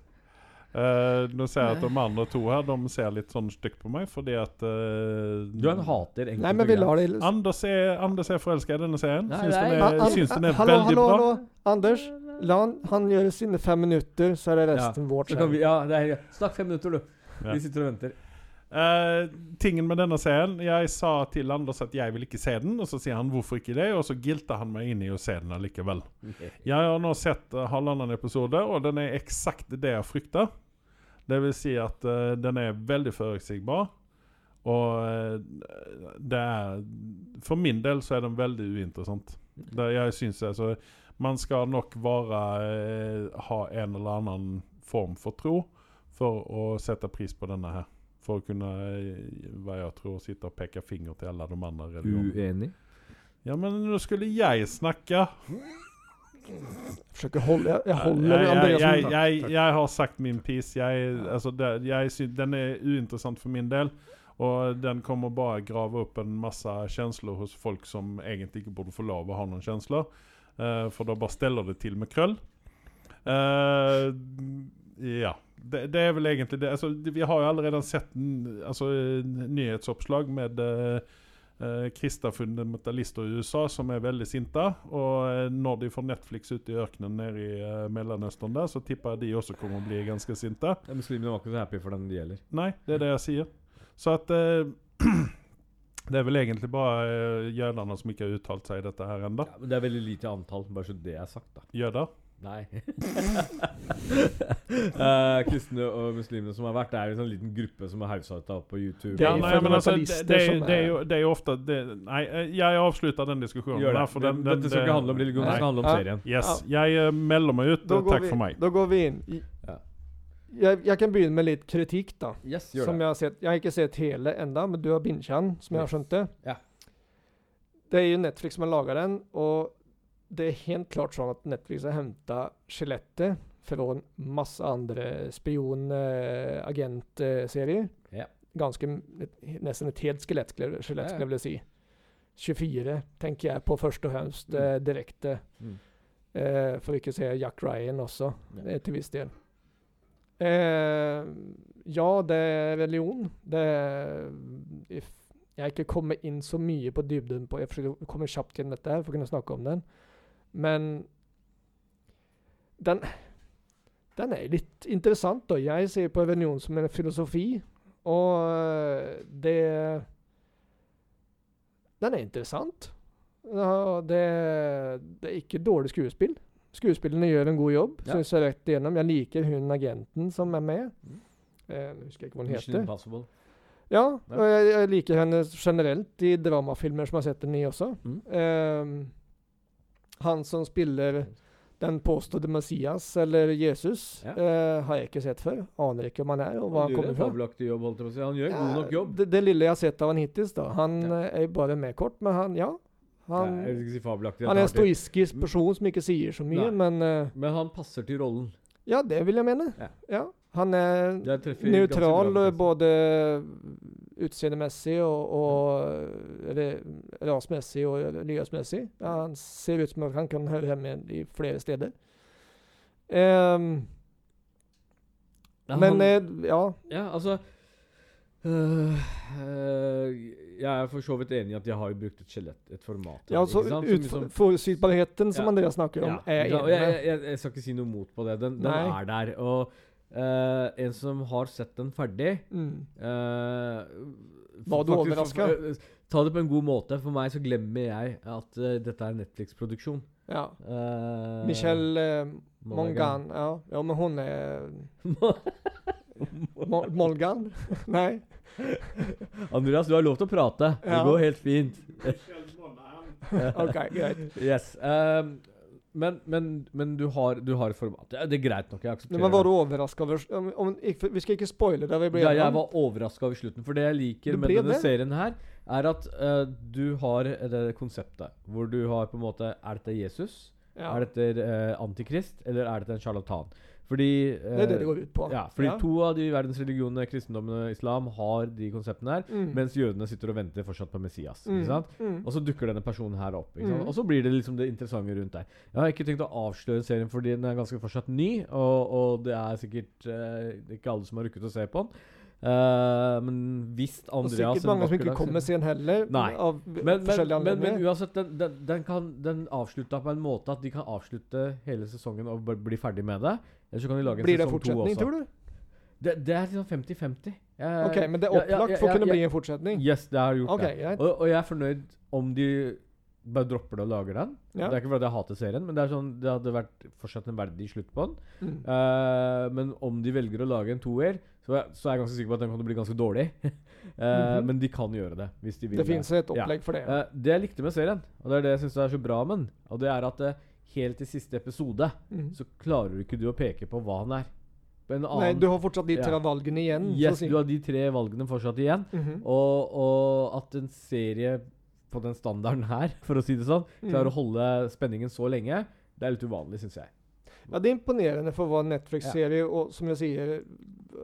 Eh, nå ser jeg at de andre to her De ser litt sånn stygt på meg, fordi at eh, Du er en hater enkelte Nej, men vi la det... Anders er, Anders er forelska i denne serien. Nei, syns den nei. er, Ah, ah, eh, syns den er ah, hallå, veldig hallå, bra. hallå. Anders, han, han gör sina fem minuter så är det resten vårt. Så kan sen. vi, ja, det er, Snakk fem minutter, du. Ja. Vi sitter og venter. Eh, tingen med denne serien Jeg sa til Anders at jeg vil ikke se den, og så sier han hvorfor ikke det, og så gilter han meg inn i å se den allikevel. Jeg har nå sett eh, halvannen episode, og den er eksakt det jeg frykta. Det vil si at eh, den er veldig forutsigbar. Og eh, det er For min del så er den veldig uinteressant. Det, jeg syns altså Man skal nok være eh, Ha en eller annen form for tro for å sette pris på denne her. For å kunne, eh, hva jeg tror, sitte og peke finger til alle de andre religionene. Uenig. Ja, men nå skulle jeg snakke! Jag försöker hålla, jag, jag håller jeg, jeg, Andreas jeg, undan. jeg, jeg har sagt min piece. Jeg, altså, det, jeg sy den er uinteressant for min del. Og den kommer bare grave opp en masse kjensler hos folk som egentlig ikke burde få lov å ha noen kjensler. Eh, for da bare steller det til med krøll. Eh, ja. Det, det er vel egentlig det. Altså, det- vi har jo allerede sett n- altså, eh, nyhetsoppslag med eh, eh, kristne fundamentalister i USA som er veldig sinte. Og eh, når de får Netflix ute i ørkenen nede i eh, Mellomøsten der, så tipper jeg de også kommer å bli ganske sinte. Muslimene var ikke så happy for den det gjelder. Nei, det er det jeg sier. Så at eh, Det er vel egentlig bare eh, jødene som ikke har uttalt seg i dette her ennå. Ja, men det er veldig lite antall, bare så det er sagt, da. Jøder. Nei. Eh, kristne og muslimene som har vært, det er jo en sånn liten gruppe som har haussa opp på YouTube. Det Ja, er jo nei, men altså, det, fundamentalister det, er, som det, er er- jo, det er jo ofte det, Nei, eh, jeg avslutter den diskusjonen. Gjør det. der, for den, den, Dette skal ikke handle om religion, det Nei. skal handle om Ja. serien. Yes. Jeg eh, melder meg ut. Då går Takk vi, for meg. Då går vi in. I, Ja. jag, jag kan börja med lite kritik då. Yes, som jag har sett. Jag har inte sett hela ända, men du har binchan som jag har Yes. skönt det. Ja. Det är ju Netflix som har lagat den och det är helt klart så att Netflix har hämtat Skellefteå från massa andra spion-agentserier. Ja. Ganska, m- ett- nästan ett helt skelett skulle jag- Ja, ja. Skellefteå skulle jag vilja säga. 24 tänker jag på först och främst Mm. eh, direkt. Eh, Mm. eh, för att inte säga Jack Ryan också Ja. eh, till viss del. Eh, ja, det er religion. Det er, if, jeg har ikke kommet inn så mye på dybden på Jeg forsøker å komme kjapt gjennom dette her for å kunne snakke om den. Men den, den er litt interessant, da. Jeg ser på religion som en filosofi, og eh, det Den er interessant. Ja, det, det er ikke dårlig skuespill. Skuespillerne gjør en god jobb, Ja. synes jeg rett igjennom. Jeg liker hun agenten som er med. Mm. Eh, jeg husker ikke hva hun Mission heter. Impossible. Ja, Ja. og jeg, jeg liker henne generelt i dramafilmer som jeg har sett henne i også. Mm. Ehm, han som spiller den påstådde Messias, eller Jesus, Ja. eh, har jeg ikke sett før. Aner ikke hvem han er, og hva han gjør kommer en fra. fabelaktig jobb, holdt jeg på å si. Han gjør en god nok Ja, jobb. Eh, Det, det lille jeg har sett av han hittil, da. Han Ja. eh, er jo bare med kort, men han, ja. Han, Nei, jeg vil ikke si fabelaktig. han er en tar det. stoiskisk person som ikke sier så mye, Nei. men eh, Men han passer til rollen. ja, det vil jeg mene. Ja. Ja. Han er Det er treffer ganske Neutral bra. eh, både utseendemessig og, Mm. og re- rasmessig og nyhetsmessig. Ja, han ser ut som at han kan høre hjemme i flere steder. Ehm, Ja, men han- eh, ja, Ja, alltså, altså øh, øh, Jeg er for så vidt enig i at jeg har jo brukt et skjelett, et format. her, ja altså, ikke sant? Som ut- liksom- forutsigbarheten som Ja. Andreas snakker om, eh, er ja, jeg ikke sant? Og enig jeg, med. jeg, jeg, jeg skal ikke si noe mot på det. Den, den Nei. er der. Og øh, en som har sett den ferdig Mm. øh, Var du faktisk- overrasket? øh, Ta det på en god måte. For meg så glemmer jeg at øh, dette er en Netflix-produksjon. Ja. Eh, Michelle eh, Monaghan. Mongan. Ja. ja, men hun er Mo- Molgan? Nei? Andreas, du har lov til å prate. Det Ja. går helt fint. OK, greit. Yes. ehm, men, men, men du har, du har et format. Ja, det er greit nok. Jeg aksepterer Men var du overraska over om, om, ikke- Vi skal ikke spoile det vi det. ble Ja, enige jeg om. var overraska over slutten. For det jeg liker Du med ble denne det? serien her, er at eh, du har det konseptet hvor du har på en måte Er dette Jesus? Ja. Er dette eh, Antikrist? Eller er dette en sjarlatan? Fordi eh, Det er det det går ut på. Ja, fordi to av de verdensreligionene, kristendommen og islam, har de konseptene her. Mm. Mens jødene sitter og venter fortsatt på Messias. Mm. Ikke sant? Mm. Og så dukker denne personen her opp. Ikke sant? Mm. Og så blir det liksom det interessante rundt der. Jeg har ikke tenkt å avsløre serien fordi den er ganske fortsatt ny, og, og det er sikkert eh, det er ikke alle som har rukket å se på den. Eh, men hvis Og Andreas sikkert en mange som vakker ikke dag ser- kommer sen heller. Nei. Av men, men, forskjellige men, men anledninger. uansett, den, den, den, kan, den avslutta på en måte at de kan avslutte hele sesongen og bare bli ferdig med det. Eller så kan de lage en Blir det sesong to fortsetning, også. tror du? Det, det er liksom 50-50. Jeg- Ok, men det er Ja, ja, opplagt ja, for å ja, kunne ja. bli en fortsetning. Yes, det har gjort Ok, det. greit. Og, og jeg er fornøyd om de bare dropper det og lager den. Ja. Det er ikke fordi jeg hater serien, men det er sånn det hadde vært fortsatt en verdig slutt på den. Mm. Eh, men om de velger å lage en toer, så, er- så er jeg ganske sikker på at den kan bli ganske dårlig. Eh, Mhm. Men de kan gjøre det, hvis de vil. Det fins et opplegg for det. Eh, det jeg likte med serien, og det er det jeg syns er så bra med den, og det er at eh, helt i siste episode Mm. så klarer ikke du å peke på hva han er. På en Nei, annen du har fortsatt de tre Ja. valgene igjen. så å Yes, si. du har de tre valgene fortsatt igjen. Mhm. Og, og at en serie på den standarden her, for å si det sånn, Mm. klarer å holde spenningen så lenge, det er litt uvanlig, syns jeg. Ja, det er imponerende for hva Netflix-serie, og som jeg sier,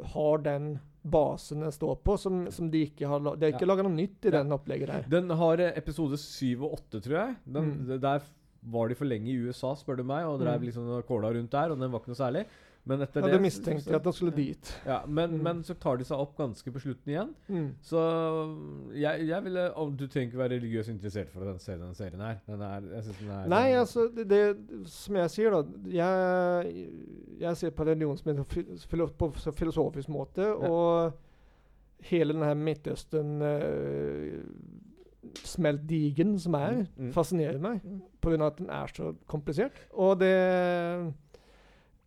har den basen den står på, som, som de ikke har la- De har ikke laga noe nytt i Ja. den opplegget der. Den har eh, episode syv og åtte, tror jeg. Den, Mm. det- Der var de for lenge i USA, spør du meg, og drev Mm. liksom og kåla rundt der, og den var ikke noe særlig. Men etter Jeg det hadde mistenkt at de skulle dit. ja, men, Mm. men så tar de seg opp ganske på slutten igjen. Mm. Så mm, jeg, jeg ville om Du trenger ikke være religiøst interessert for å se denne serien her. Den er, jeg synes den er Nei, altså, alltså, det, det som jeg sier, da Jeg, jeg ser på religion som en fi- filo- på f- filosofisk måte, Ja. og hele den her Midtøsten uh, Smeltdigen som er, Mm, mm. fascinerer meg på grunn av at den er så komplisert. Og det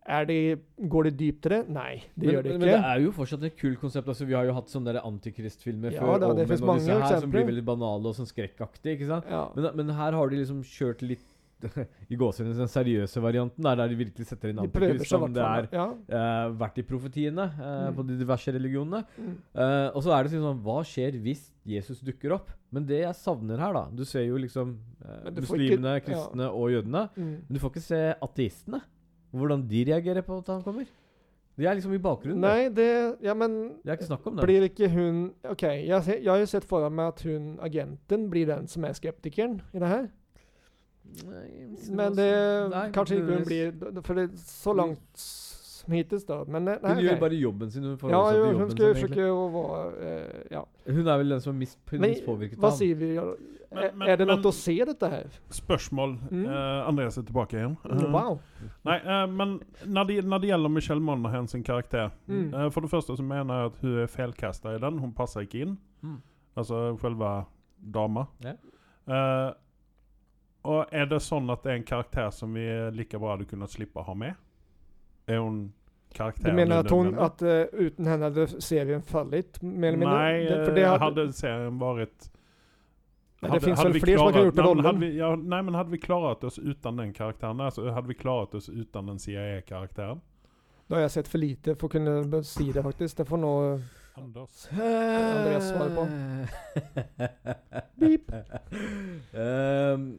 er det, Går det dypt i det? Nei, det men, gjør det men- ikke. Men det er jo fortsatt et kult konsept. Altså, vi har jo hatt sånne der antikristfilmer Ja, før. da, det Omen finnes og disse mange her, Som blir eksempler. veldig banale og sånn skrekkaktige. ikke sant? ja. Men, men her har de liksom kjørt litt i gåsehudene den seriøse varianten, der, der de virkelig setter inn De prøver antikrist seg i som hvert det er fall. Ja. eh, vært i profetiene eh, Mm. på de diverse religionene. Mm. Eh, og så er det sånn sånn, Hva skjer hvis Jesus dukker opp? Men det jeg savner her, da Du ser jo liksom eh, Men du får ikke- muslimene, ja. kristne og Mm. jødene. Men du får ikke se ateistene. Hvordan de reagerer på at han kommer. De er liksom i bakgrunnen. da. Nei, det Ja, men Det er ikke snakk om det. blir ikke hun OK, jeg, ser, jeg har jo sett for meg at hun agenten blir den som er skeptikeren i det her. Nei, Men det Nei, Kanskje ikke hun muligvis. blir For det er så langt s- hittil, da. Men eh, nei, Hun gjør ok. bare jobben sin. Hun, forholder Ja, seg til jo, hun jobben skal jo sin, egentlig. forsøke å være eh, Ja. Hun er vel den som er mest, mest påvirket hva av ham. sier vi? Er, Men- men- er det men- noe å se, dette her? Spørsmål. Mm. Eh, Andreas er tilbake igjen. Eh, Wow. Nei, eh, men når det, når det gjelder Michelle Monaghan sin karakter Mm. eh, For det første så mener jeg at hun er feilkasta i den. Hun passer ikke inn. Mm. Altså selve Alltså, dama. Ja. Eh, og er det sånn at det er en karakter som vi like bra hadde kunnet slippe å ha med? Er hun Du karakteren mener at, hon, unødvendig? at eh, uten henne hadde serien fallit? Mer eller mindre? Nej, Det- eh, för det hade- hade serien varit... Men det finns väl fler som har gjort nej, men rollen? hade vi, ja, nej men hade vi klarat oss utan den karaktären, alltså hade vi klarat oss utan den CIA-karaktären? Da har jeg sett for lite for å kunne be- si det, faktisk. Det får eh, nå Anders. Andreas svarer på. Beep. Ehm, alltså,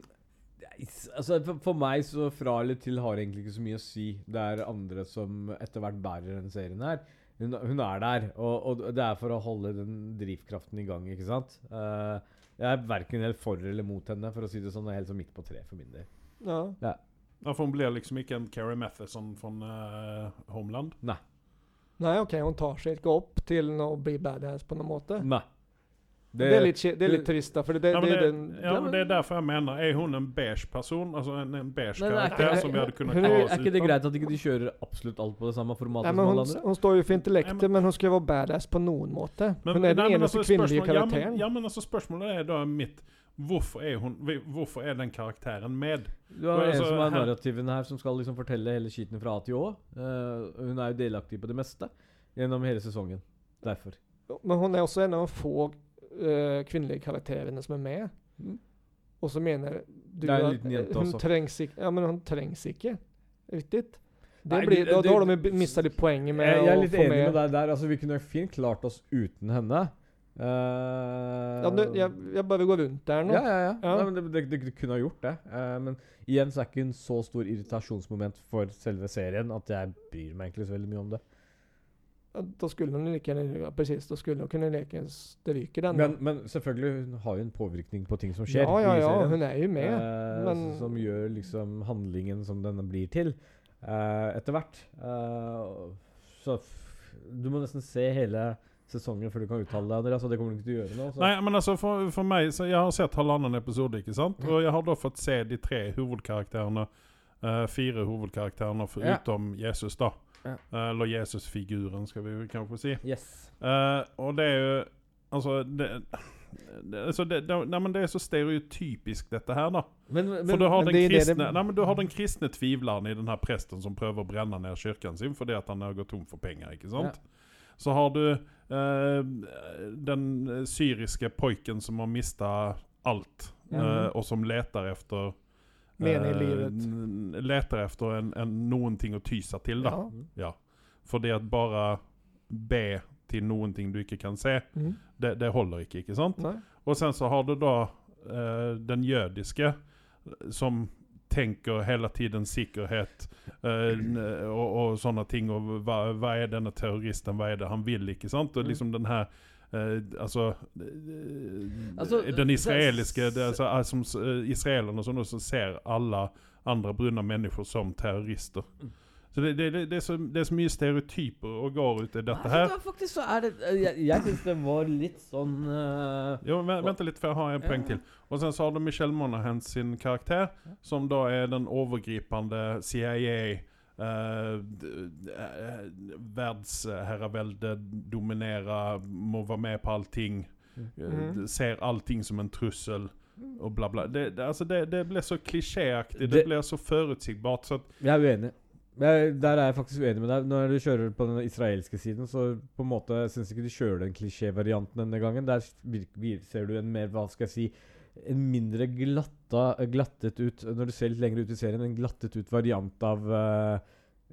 nei, s- altså, for, for meg så fra eller til har egentlig ikke så mye å si. Det er andre som etter hvert bærer denne serien her. Hun, hun er der, og, og det er for å holde den drivkraften i gang, ikke sant? Eh, jeg er verken helt for eller mot henne, for å si det sånn. Jeg er helt sånn midt på treet for min del. Ja. Ja, för hon blir liksom inte en Carrie Matheson från eh, Homeland. Nei, OK, hun tar seg ikke opp til å bli badass på noen måte. Nei. Mm. Det, er litt, kje- det er litt trist, da, for det, det, ja, men det, det, den- ja, ja, men men- det är därför jag menar, är hon en beige person? Alltså en, en beige Nei, det er karaktär ikke- som vi hade kunnat Hun- klara er, oss er ikke det utan? greit at ikke de kjører absolutt alt på det samme formatet Nei, men som alle hun, andre? hun står jo for Nei, intellektet, men hun skal jo være badass på noen måte. Men- hun er nei, den men eneste altså, kvinnelige spørsmål- Ja, karakteren. men, ja, men alltså, altså, spørsmålet er da mitt Hvorfor er, hun, vi- hvorfor er den karakteren med? Du har Men en altså, som er her- narrativen her, som skal liksom fortelle hele skiten fra A til Å. Eh, hun er jo delaktig på det meste gjennom hele sesongen. Derfor. Men hun er også en av de få eh, kvinnelige karakterene som er med. Mm. Og så mener du Det er en at liten jente hun også. trengs ikke Ja, men hun trengs ikke. Riktig. Det Nei, blir, det- da, det- da har de mista litt poenget med jeg, jeg er litt å få enig med med deg der. Altså, vi kunne fint klart oss uten henne. Eh, ja, nu, jeg, jeg bare går rundt der nå. ja, ja, ja. Ja. Nei, men det, det, det, det kunne ha gjort det. Eh, men igjen så er ikke en så stor irritasjonsmoment for selve serien at jeg bryr meg egentlig så veldig mye om det. Ja, Da skulle hun leke ja, precis, da skulle hun kunne leke stryke den. Men, men selvfølgelig, hun har jo en påvirkning på ting som skjer. ja, ja, i ja, serien. hun er jo med. Eh, men- s- Som gjør liksom handlingen som denne blir til, eh, etter hvert. Eh, så f du må nesten se hele sesongen før du kan uttale deg, Andreas. Og det kommer du ikke til å gjøre nå. Så. Nei, men alltså, altså for, for meg, så Jeg har sett halvannen episode, ikke sant? Mm. Og jeg har da fått se de tre hovedkarakterene. eh, fire hovedkarakterene foruten Jesus, da. Ja. Eh, eller Jesus-figuren, skal vi kanskje si. Yes. Eh, og det er jo Altså det, det, altså det, det, nei, men det er så stereotypisk, dette her, da. Men, men, For du har, men den det er det kristne, det- nei, men du har den kristne tvivleren i den her presten som prøver å brenne ned kirken sin fordi at han har gått tom for penger. ikke sant? Så har du eh, den syriske pojken som har mista alt, eh, Mhm. og som leter etter eh, Mening i livet. n- Leter etter en, en, noen ting å ty seg til, da. Ja. Mm. Fordi at bare be til noen ting du ikke kan se, Eh, Mm. det, det holder ikke, ikke sant? Nei. Og sen så har du da eh, den jødiske som tenker hele tiden sikkerhet eh, n- og, og sånne ting. Og hva, hva er denne terroristen, hva er det han vil, ikke sant? Og liksom den her eh, altså, eh, Altså, Den det- israeliske det, altså, eh, som, s- eh, Israelerne som nå så ser alle andre brune mennesker som terrorister. Så det, det, det, det, er så, det er så mye stereotyper og går ut i dette her. faktisk så er det Jeg, jeg syns det var litt sånn eh, Jo, men vent litt, for jeg har en poeng til. Og sen så har du Michelle Monaghan sin karakter, som da er den overgripende CIA eh, d- eh, Verdensherravelde, dominere, må være med på allting. eh, Mhm. d- ser allting som en trussel, og bla, bla. Det, det, altså det, det blir så klisjéaktig, det, Det- blir så forutsigbart. Så at, Jeg er uenig. Jeg, der er jeg faktisk uenig med deg. Når du kjører på den israelske siden, så på en måte syns ikke de kjører den klisjévarianten denne gangen. Der virk- vir- ser du en mer, hva skal jeg si, en mindre glatta, glattet ut Når du ser litt lenger ut i serien, en glattet ut variant av eh,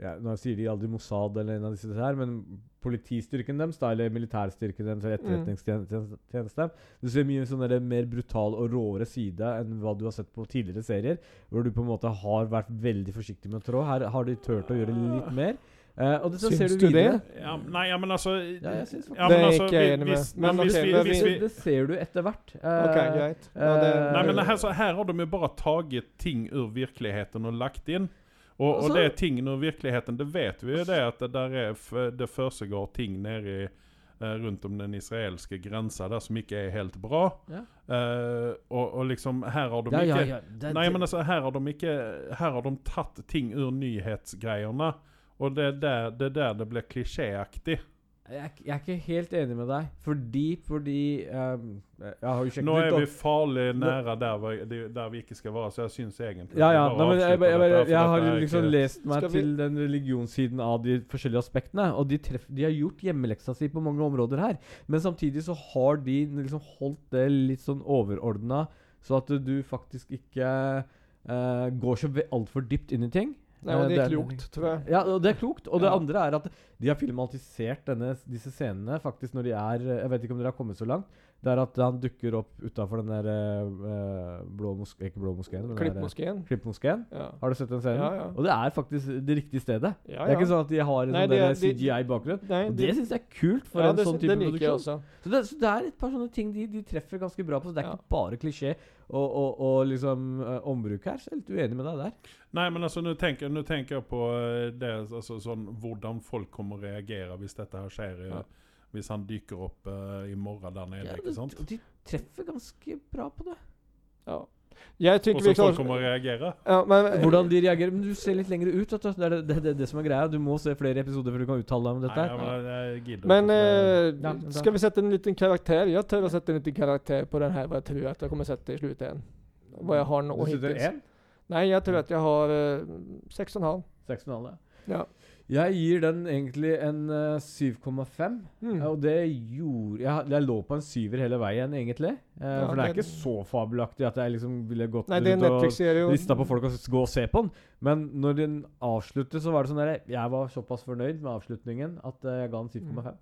ja, Nå sier de aldri Mossad eller en av disse her, men politistyrken deres, da, eller militærstyrken deres, eller Mm. etterretningstjenesten Du ser mye sånn der mer brutal og råere side enn hva du har sett på tidligere serier, hvor du på en måte har vært veldig forsiktig med å trå. Her har de turt å gjøre litt mer. Eh, og det, så Syns ser du, du videre. det? Ja, nei, ja, men altså Ja, jeg syns faktisk ja, Det men er altså, ikke jeg vi- enig med. hvis- Men men hvis ok, vi- men hvis vi- vi- Det ser du etter hvert. Eh, Ok, greit. Ja, det, eh, Nei, men her, så her har de jo bare taget ting ur virkeligheten og lagt inn. Og, og Altså- det er tingen ur virkeligheten, det vet vi jo det at det der er f det foregår ting nede i eh, rundt om den israelske grensa der som ikke er helt bra. Ja. Eh, og, og liksom her har de ja, ikke ja, ja. Det, Nei, det- men altså, her har de ikke Her har de tatt ting ur nyhetsgreiene. Og det er der det, er der det blir klisjéaktig. Jeg, er ikke- jeg er ikke helt enig med deg, fordi Fordi ehm, Jeg har jo sjekket Nå er ut, vi da. farlig nære der vi, der vi ikke skal være, så jeg syns egentlig Ja, ja. vi bare Nei, men jeg, jeg, avslutter jeg, dette her, jeg, for har dette er liksom ikke- lest meg Skal vi- til den religionssiden av de forskjellige aspektene, og de, treff, de har gjort hjemmeleksa si på mange områder her. Men samtidig så har de liksom holdt det litt sånn overordna, så at du faktisk ikke eh, går så altfor dypt inn i ting. nei, men det Eh, er klokt, tror jeg. Ja, og det er klokt. Og det Ja. andre er at de har filmatisert denne, disse scenene faktisk når de er eh, Jeg vet ikke om dere har kommet så langt. Det er at han dukker opp utafor den der eh, blå moskeen Ikke blå moskeen, men den der, Klippmoskeen. eh, Klippmoskeen. Ja. Har du sett den scenen? Ja, ja. Og det er faktisk det riktige stedet. Ja, Det er ikke ja. sånn at de har en Nei, sånn det der er- de- CGI-bakgrunn. Nei, Og det, det syns jeg er kult for ja, en det, sånn det typ type liker jeg produksjon. også. Så det, så det er et par sånne ting de, de treffer ganske bra på. Så det er Ja. ikke bare klisjé og, og, og liksom eh, ombruk her. Så jeg er litt uenig med deg der. Nei, men alltså, altså, nå tenker, nå tenker jeg på eh, det, altså, sånn, hvordan folk kommer å reagere hvis dette her skjer. eh, Ja. Hvis han dykker opp eh, i morgen der nede, Ja, ikke sant? de, de treffer ganske bra på det. Ja. Jeg Og tykker vi så folk klarer kommer å reagere. ja, men, Hvordan de reagerer Men du ser litt lenger ut. Vet du. Det er det, det, det, det som er greia. Du må se flere episoder før du kan uttale deg om dette. Nei, her. ja, men jeg gidder Men ikke. eh, Ja, men da- skal vi sette en liten karakter? Jag tror jag sätter en liten karakter på den här vad jag tror att jag kommer sätta i slutändan. Vad jag har nå Du sitter hittills. én? Nej, jag tror att jag har eh, 6,5. Seks og en halv, Ja. Jeg gir den egentlig en eh, 7,5. Mm. Og det gjorde jeg, jeg lå på en syver hele veien, egentlig. Eh, Ja, for den er det- ikke så fabelaktig at jeg liksom ville gått Nej, det är en rundt og Netflix-serie. och- lista på folk og s- gå og se på den. Men når den avslutter, så var det sånn der Jeg var såpass fornøyd med avslutningen at eh, jeg ga den 7,5.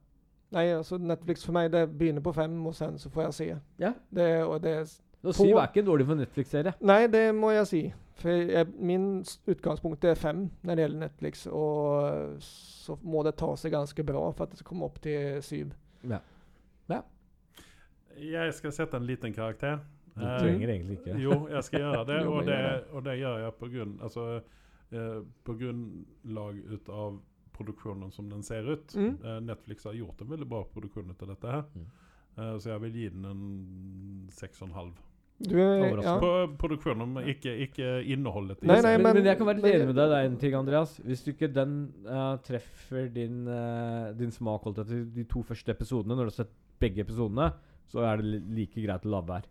Nej, alltså Netflix för mig det begynner på 5 och sen så får jag se. Ja. Det, och det, Og På- 7 er ikke dårlig for en Netflix-serie. nej, det må jag se. För jag, min s- utgångspunkt är 5 när det gäller Netflix och eh, så må det ta sig ganska bra för att det ska komma upp till 7. Jeg skal sette en liten karakter. Du Eh, trenger egentlig ikke. Jo, jeg skal gjøre det, Jo, og men det, gjør det. og det gjør jeg på grunn altså, eh, på grunnlag ut av produksjonen som den ser ut. Mm. Eh, Netflix har gjort en veldig bra produksjon ut av dette her. Mm. Eh, så jeg vil gi den en seks og en halv. Du, är- Överraskande. ja. På produksjonen, men ikke, ikke innholdet. i Nei, seg. nei, Liksom. men, men- men jeg kan være litt men- enig med deg. Det er en ting, Andreas. Hvis du ikke den eh, treffer din, eh, din smak holdt jeg til de to første episodene, når du har sett begge episodene, så er det li- like greit å la være.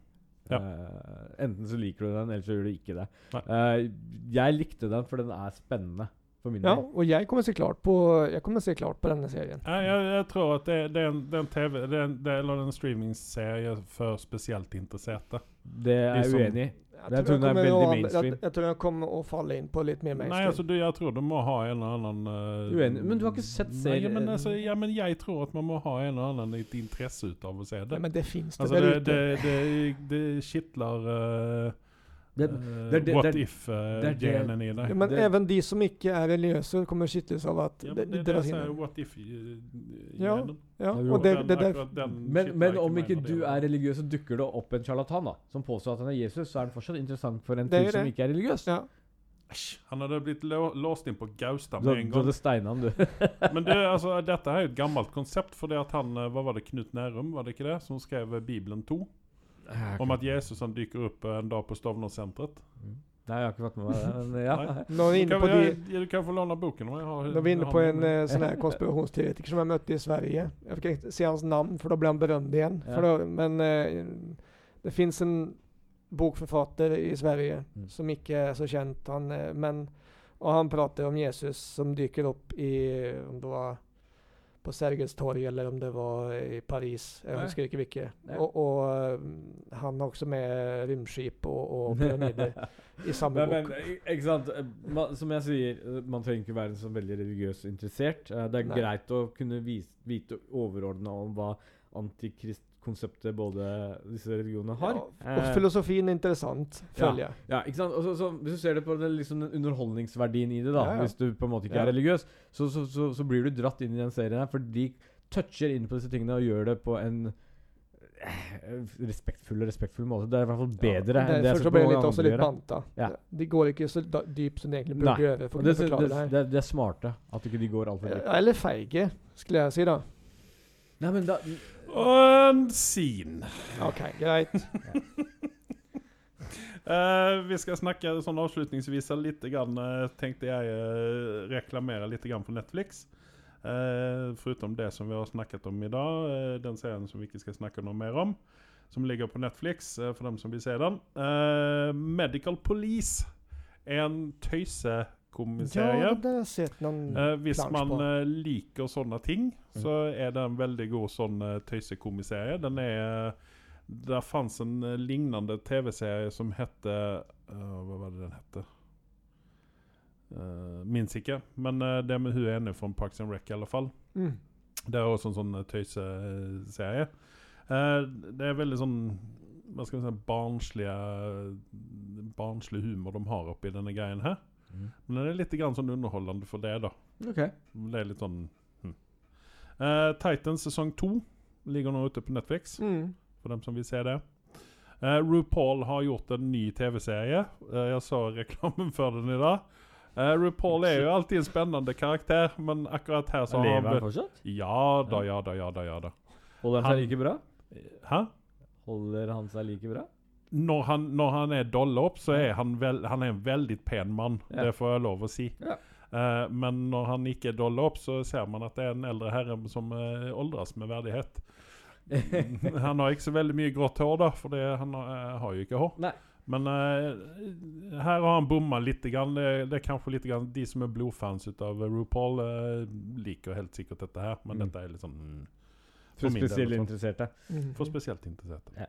Ja. Eh, enten så liker du den, eller så gjør du ikke det. Nei. Eh, jeg likte den, for den er spennende. For min ja, del. och jag kommer se klart på, jag kommer se klart på den här serien. Nei, jeg, jeg tror at det, det, er en, det er en TV det er en, det, Eller en streamingserie for spesielt interesserte. Det er jeg Liksom- uenig i. tror tror den er kommer veldig å- mainstream. Jeg, jeg tror den kommer å falle inn på litt mer mainstream. Nei, altså du, Jeg alltså, tror du må ha en eller annen eh, Uenig, men du har ikke sett Nei, serien. men, altså, ja, men jeg tror at man må ha en eller annen litt interesse ut av å se Nei, det. men det finnes det Altså, alltså, det, der ute. det, det, det kitler eh, Det, eh, det- det- what det- det- det- if-genen i Ja, deg. men det- även de som ikke er religiøse kommer kittles av at Ja, det, men det, det, er dras inn. sånn what eh, if-genen. Ja, Ja, Ja, jo. og det, det er derfor men, men om ikke du er religiøs, så dukker det opp en sjarlatan da, som påstår at han er Jesus, så er den fortsatt interessant for en Det er fyr som det. ikke er religiøs. ja. Æsj, Han hadde blitt lå- låst inn på Gaustad Du med en gang. hadde steina han, du. Men det, alltså, altså, dette er jo et gammelt konsept, fordi at han eh, Hva var det, Knut Nærum, var det ikke det? Som skrev eh, Bibelen 2? Om at Jesus han dukker opp eh, en dag på Stovner-senteret. Nei, jeg Mm. har ikke fått med meg det. Men ja. Nei. Når vi Du, er inne kan- på, de, jeg- du kan få låne boken om jeg har når vi er inne på har en den. eh, sånn her konspirasjonsteoretiker som jeg møtte i Sverige. Jeg fikk ikke se hans navn, for da ble han berømt igjen. Ja. For da, men eh, det fins en bokforfatter i Sverige Mm. som ikke er så kjent, han, eh, men, og han prater om Jesus som dyker opp i om det var på Sergels torg eller om det var i Paris. Jeg Nej. husker ikke hvilket. Nej. Og, og mm, han har også med rymdskip og, og pyramider i samme Men, bok. men ikke sant man, Som jeg sier, man trenger ikke være så veldig religiøst interessert. Eh, Det er Nei. greit å kunne vis, vite overordna om hva antikrist-konseptet både disse religionene har. Ja, og Eh, filosofien er interessant, følger jeg. ja, ikke sant? Og så- så, hvis du ser det på den, liksom, den underholdningsverdien i det, da, Ja, ja. hvis du på en måte ikke Ja. er religiøs, så, så, så, så blir du dratt inn i den serien her, for de toucher inn på disse tingene og gjør det på en eh, respektfull og respektfull måte. Det er i hvert fall bedre Ja, enn det jeg Derfor har så sett ble det på litt, mange også andre litt gjøre. banta. Ja. De går ikke så da- dypt som de egentlig Nei. burde gjøre for å Og det, kunne sy- forklare det, det her. det, det er smarte at ikke de går altfor dypt. Ja, Eller feige, skulle jeg si da. Nei, men da eh, Og sin. Ok, greit. Eh, vi ska snacka sånn avslutningsvis lite grann, eh, tänkte jag eh, reklamera lite grann för Netflix. Eh, förutom det som vi har snackat om idag, eh, den serien som vi inte ska snacka något mer om, som ligger på Netflix eh, för dem som vill se den. Eh, Medical Police är en tøysekommiserie. Ja, det har jeg sett noen Eh, hvis plansj man Mm. på. eh, liker sånne ting, så er det en veldig god sånn eh, tøysekomiserie. Den er Der fantes en eh, lignende TV-serie som hette eh, Hva var det den hette? Uh, minns ikke. Men eh, det med hun ene fra Parks and Rec, i alle fall. Mm. Det er også en sånn eh, tøyseserie. Eh, det er veldig sånn hva skal vi si, barnslige, barnslig humor de har oppi denne greien her. Mm. Men den er litt grann sånn underholdende for det, da. OK. Det er litt sånn hm. Eh, Titans sesong to ligger nå ute på Netflix, Mm. for dem som vil se det. Eh, RuPaul har gjort en ny TV-serie. Eh, jeg så reklamen for den i dag. Eh, RuPaul er jo alltid en spennende karakter, men akkurat her så har Lever han han fortsatt? Ja da, ja da, ja da. ja da Holder han Han- seg like bra? Hæ? Holder han seg like bra? Når han, når han er dolla opp, så er han, vel, han er en veldig pen mann. Mm. Ja. Det får jeg lov å si. Ja. Eh, men når han ikke er dolla opp, så ser man at det er en eldre herre som uh, oldres med verdighet. han har ikke så veldig mye grått hår, da, for det, han har, eh, har jo ikke hår. Nei. Men eh, her har han bomma litt. Grann. Det, det er kanskje litt grann, De som er blodfans av RuPaul, eh, liker helt sikkert dette her, men Mm. dette er litt sånn mm, For min del, spesielt altså. interesserte. Mm. for spesielt interesserte. Ja.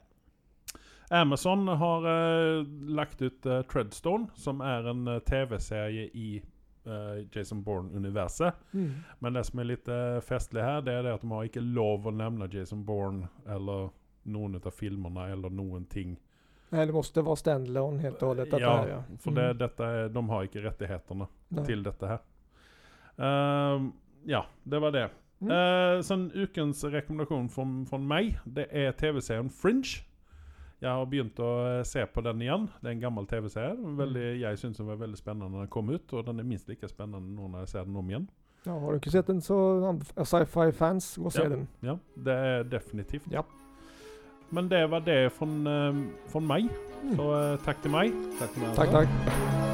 Amazon har eh, lagt ut eh, Treadstone, som er en eh, TV-serie i eh, Jason Bourne-universet. Mm. Men det som er litt eh, festlig her, det er det at de har ikke lov å nevne Jason Bourne eller noen av filmene eller noen ting. Nej, det måste vara standalone helt och hållet. att det här, ja. For det, Mm. dette er, de har ikke rettighetene Nej. til dette her. Ehm, ja, det var det. Mm. Eh, sånn ukens rekommendasjon fra, fra meg, det er TV-serien Fringe. Jeg har begynt å eh, se på den igjen. Det er en gammel TV-serie. Mm. Veldig- Jeg syns den var veldig spennende når den kom ut, og den er minst like spennende nå når jeg ser den om igjen. Ja, har du inte sett den så anbef- sci-fi fans, gå och se Ja. den. Ja, det er definitivt. Ja. Men det var det fra, eh, fra meg, Mm. så eh, takk til meg. Takk, for meg, Tack, altså. tack.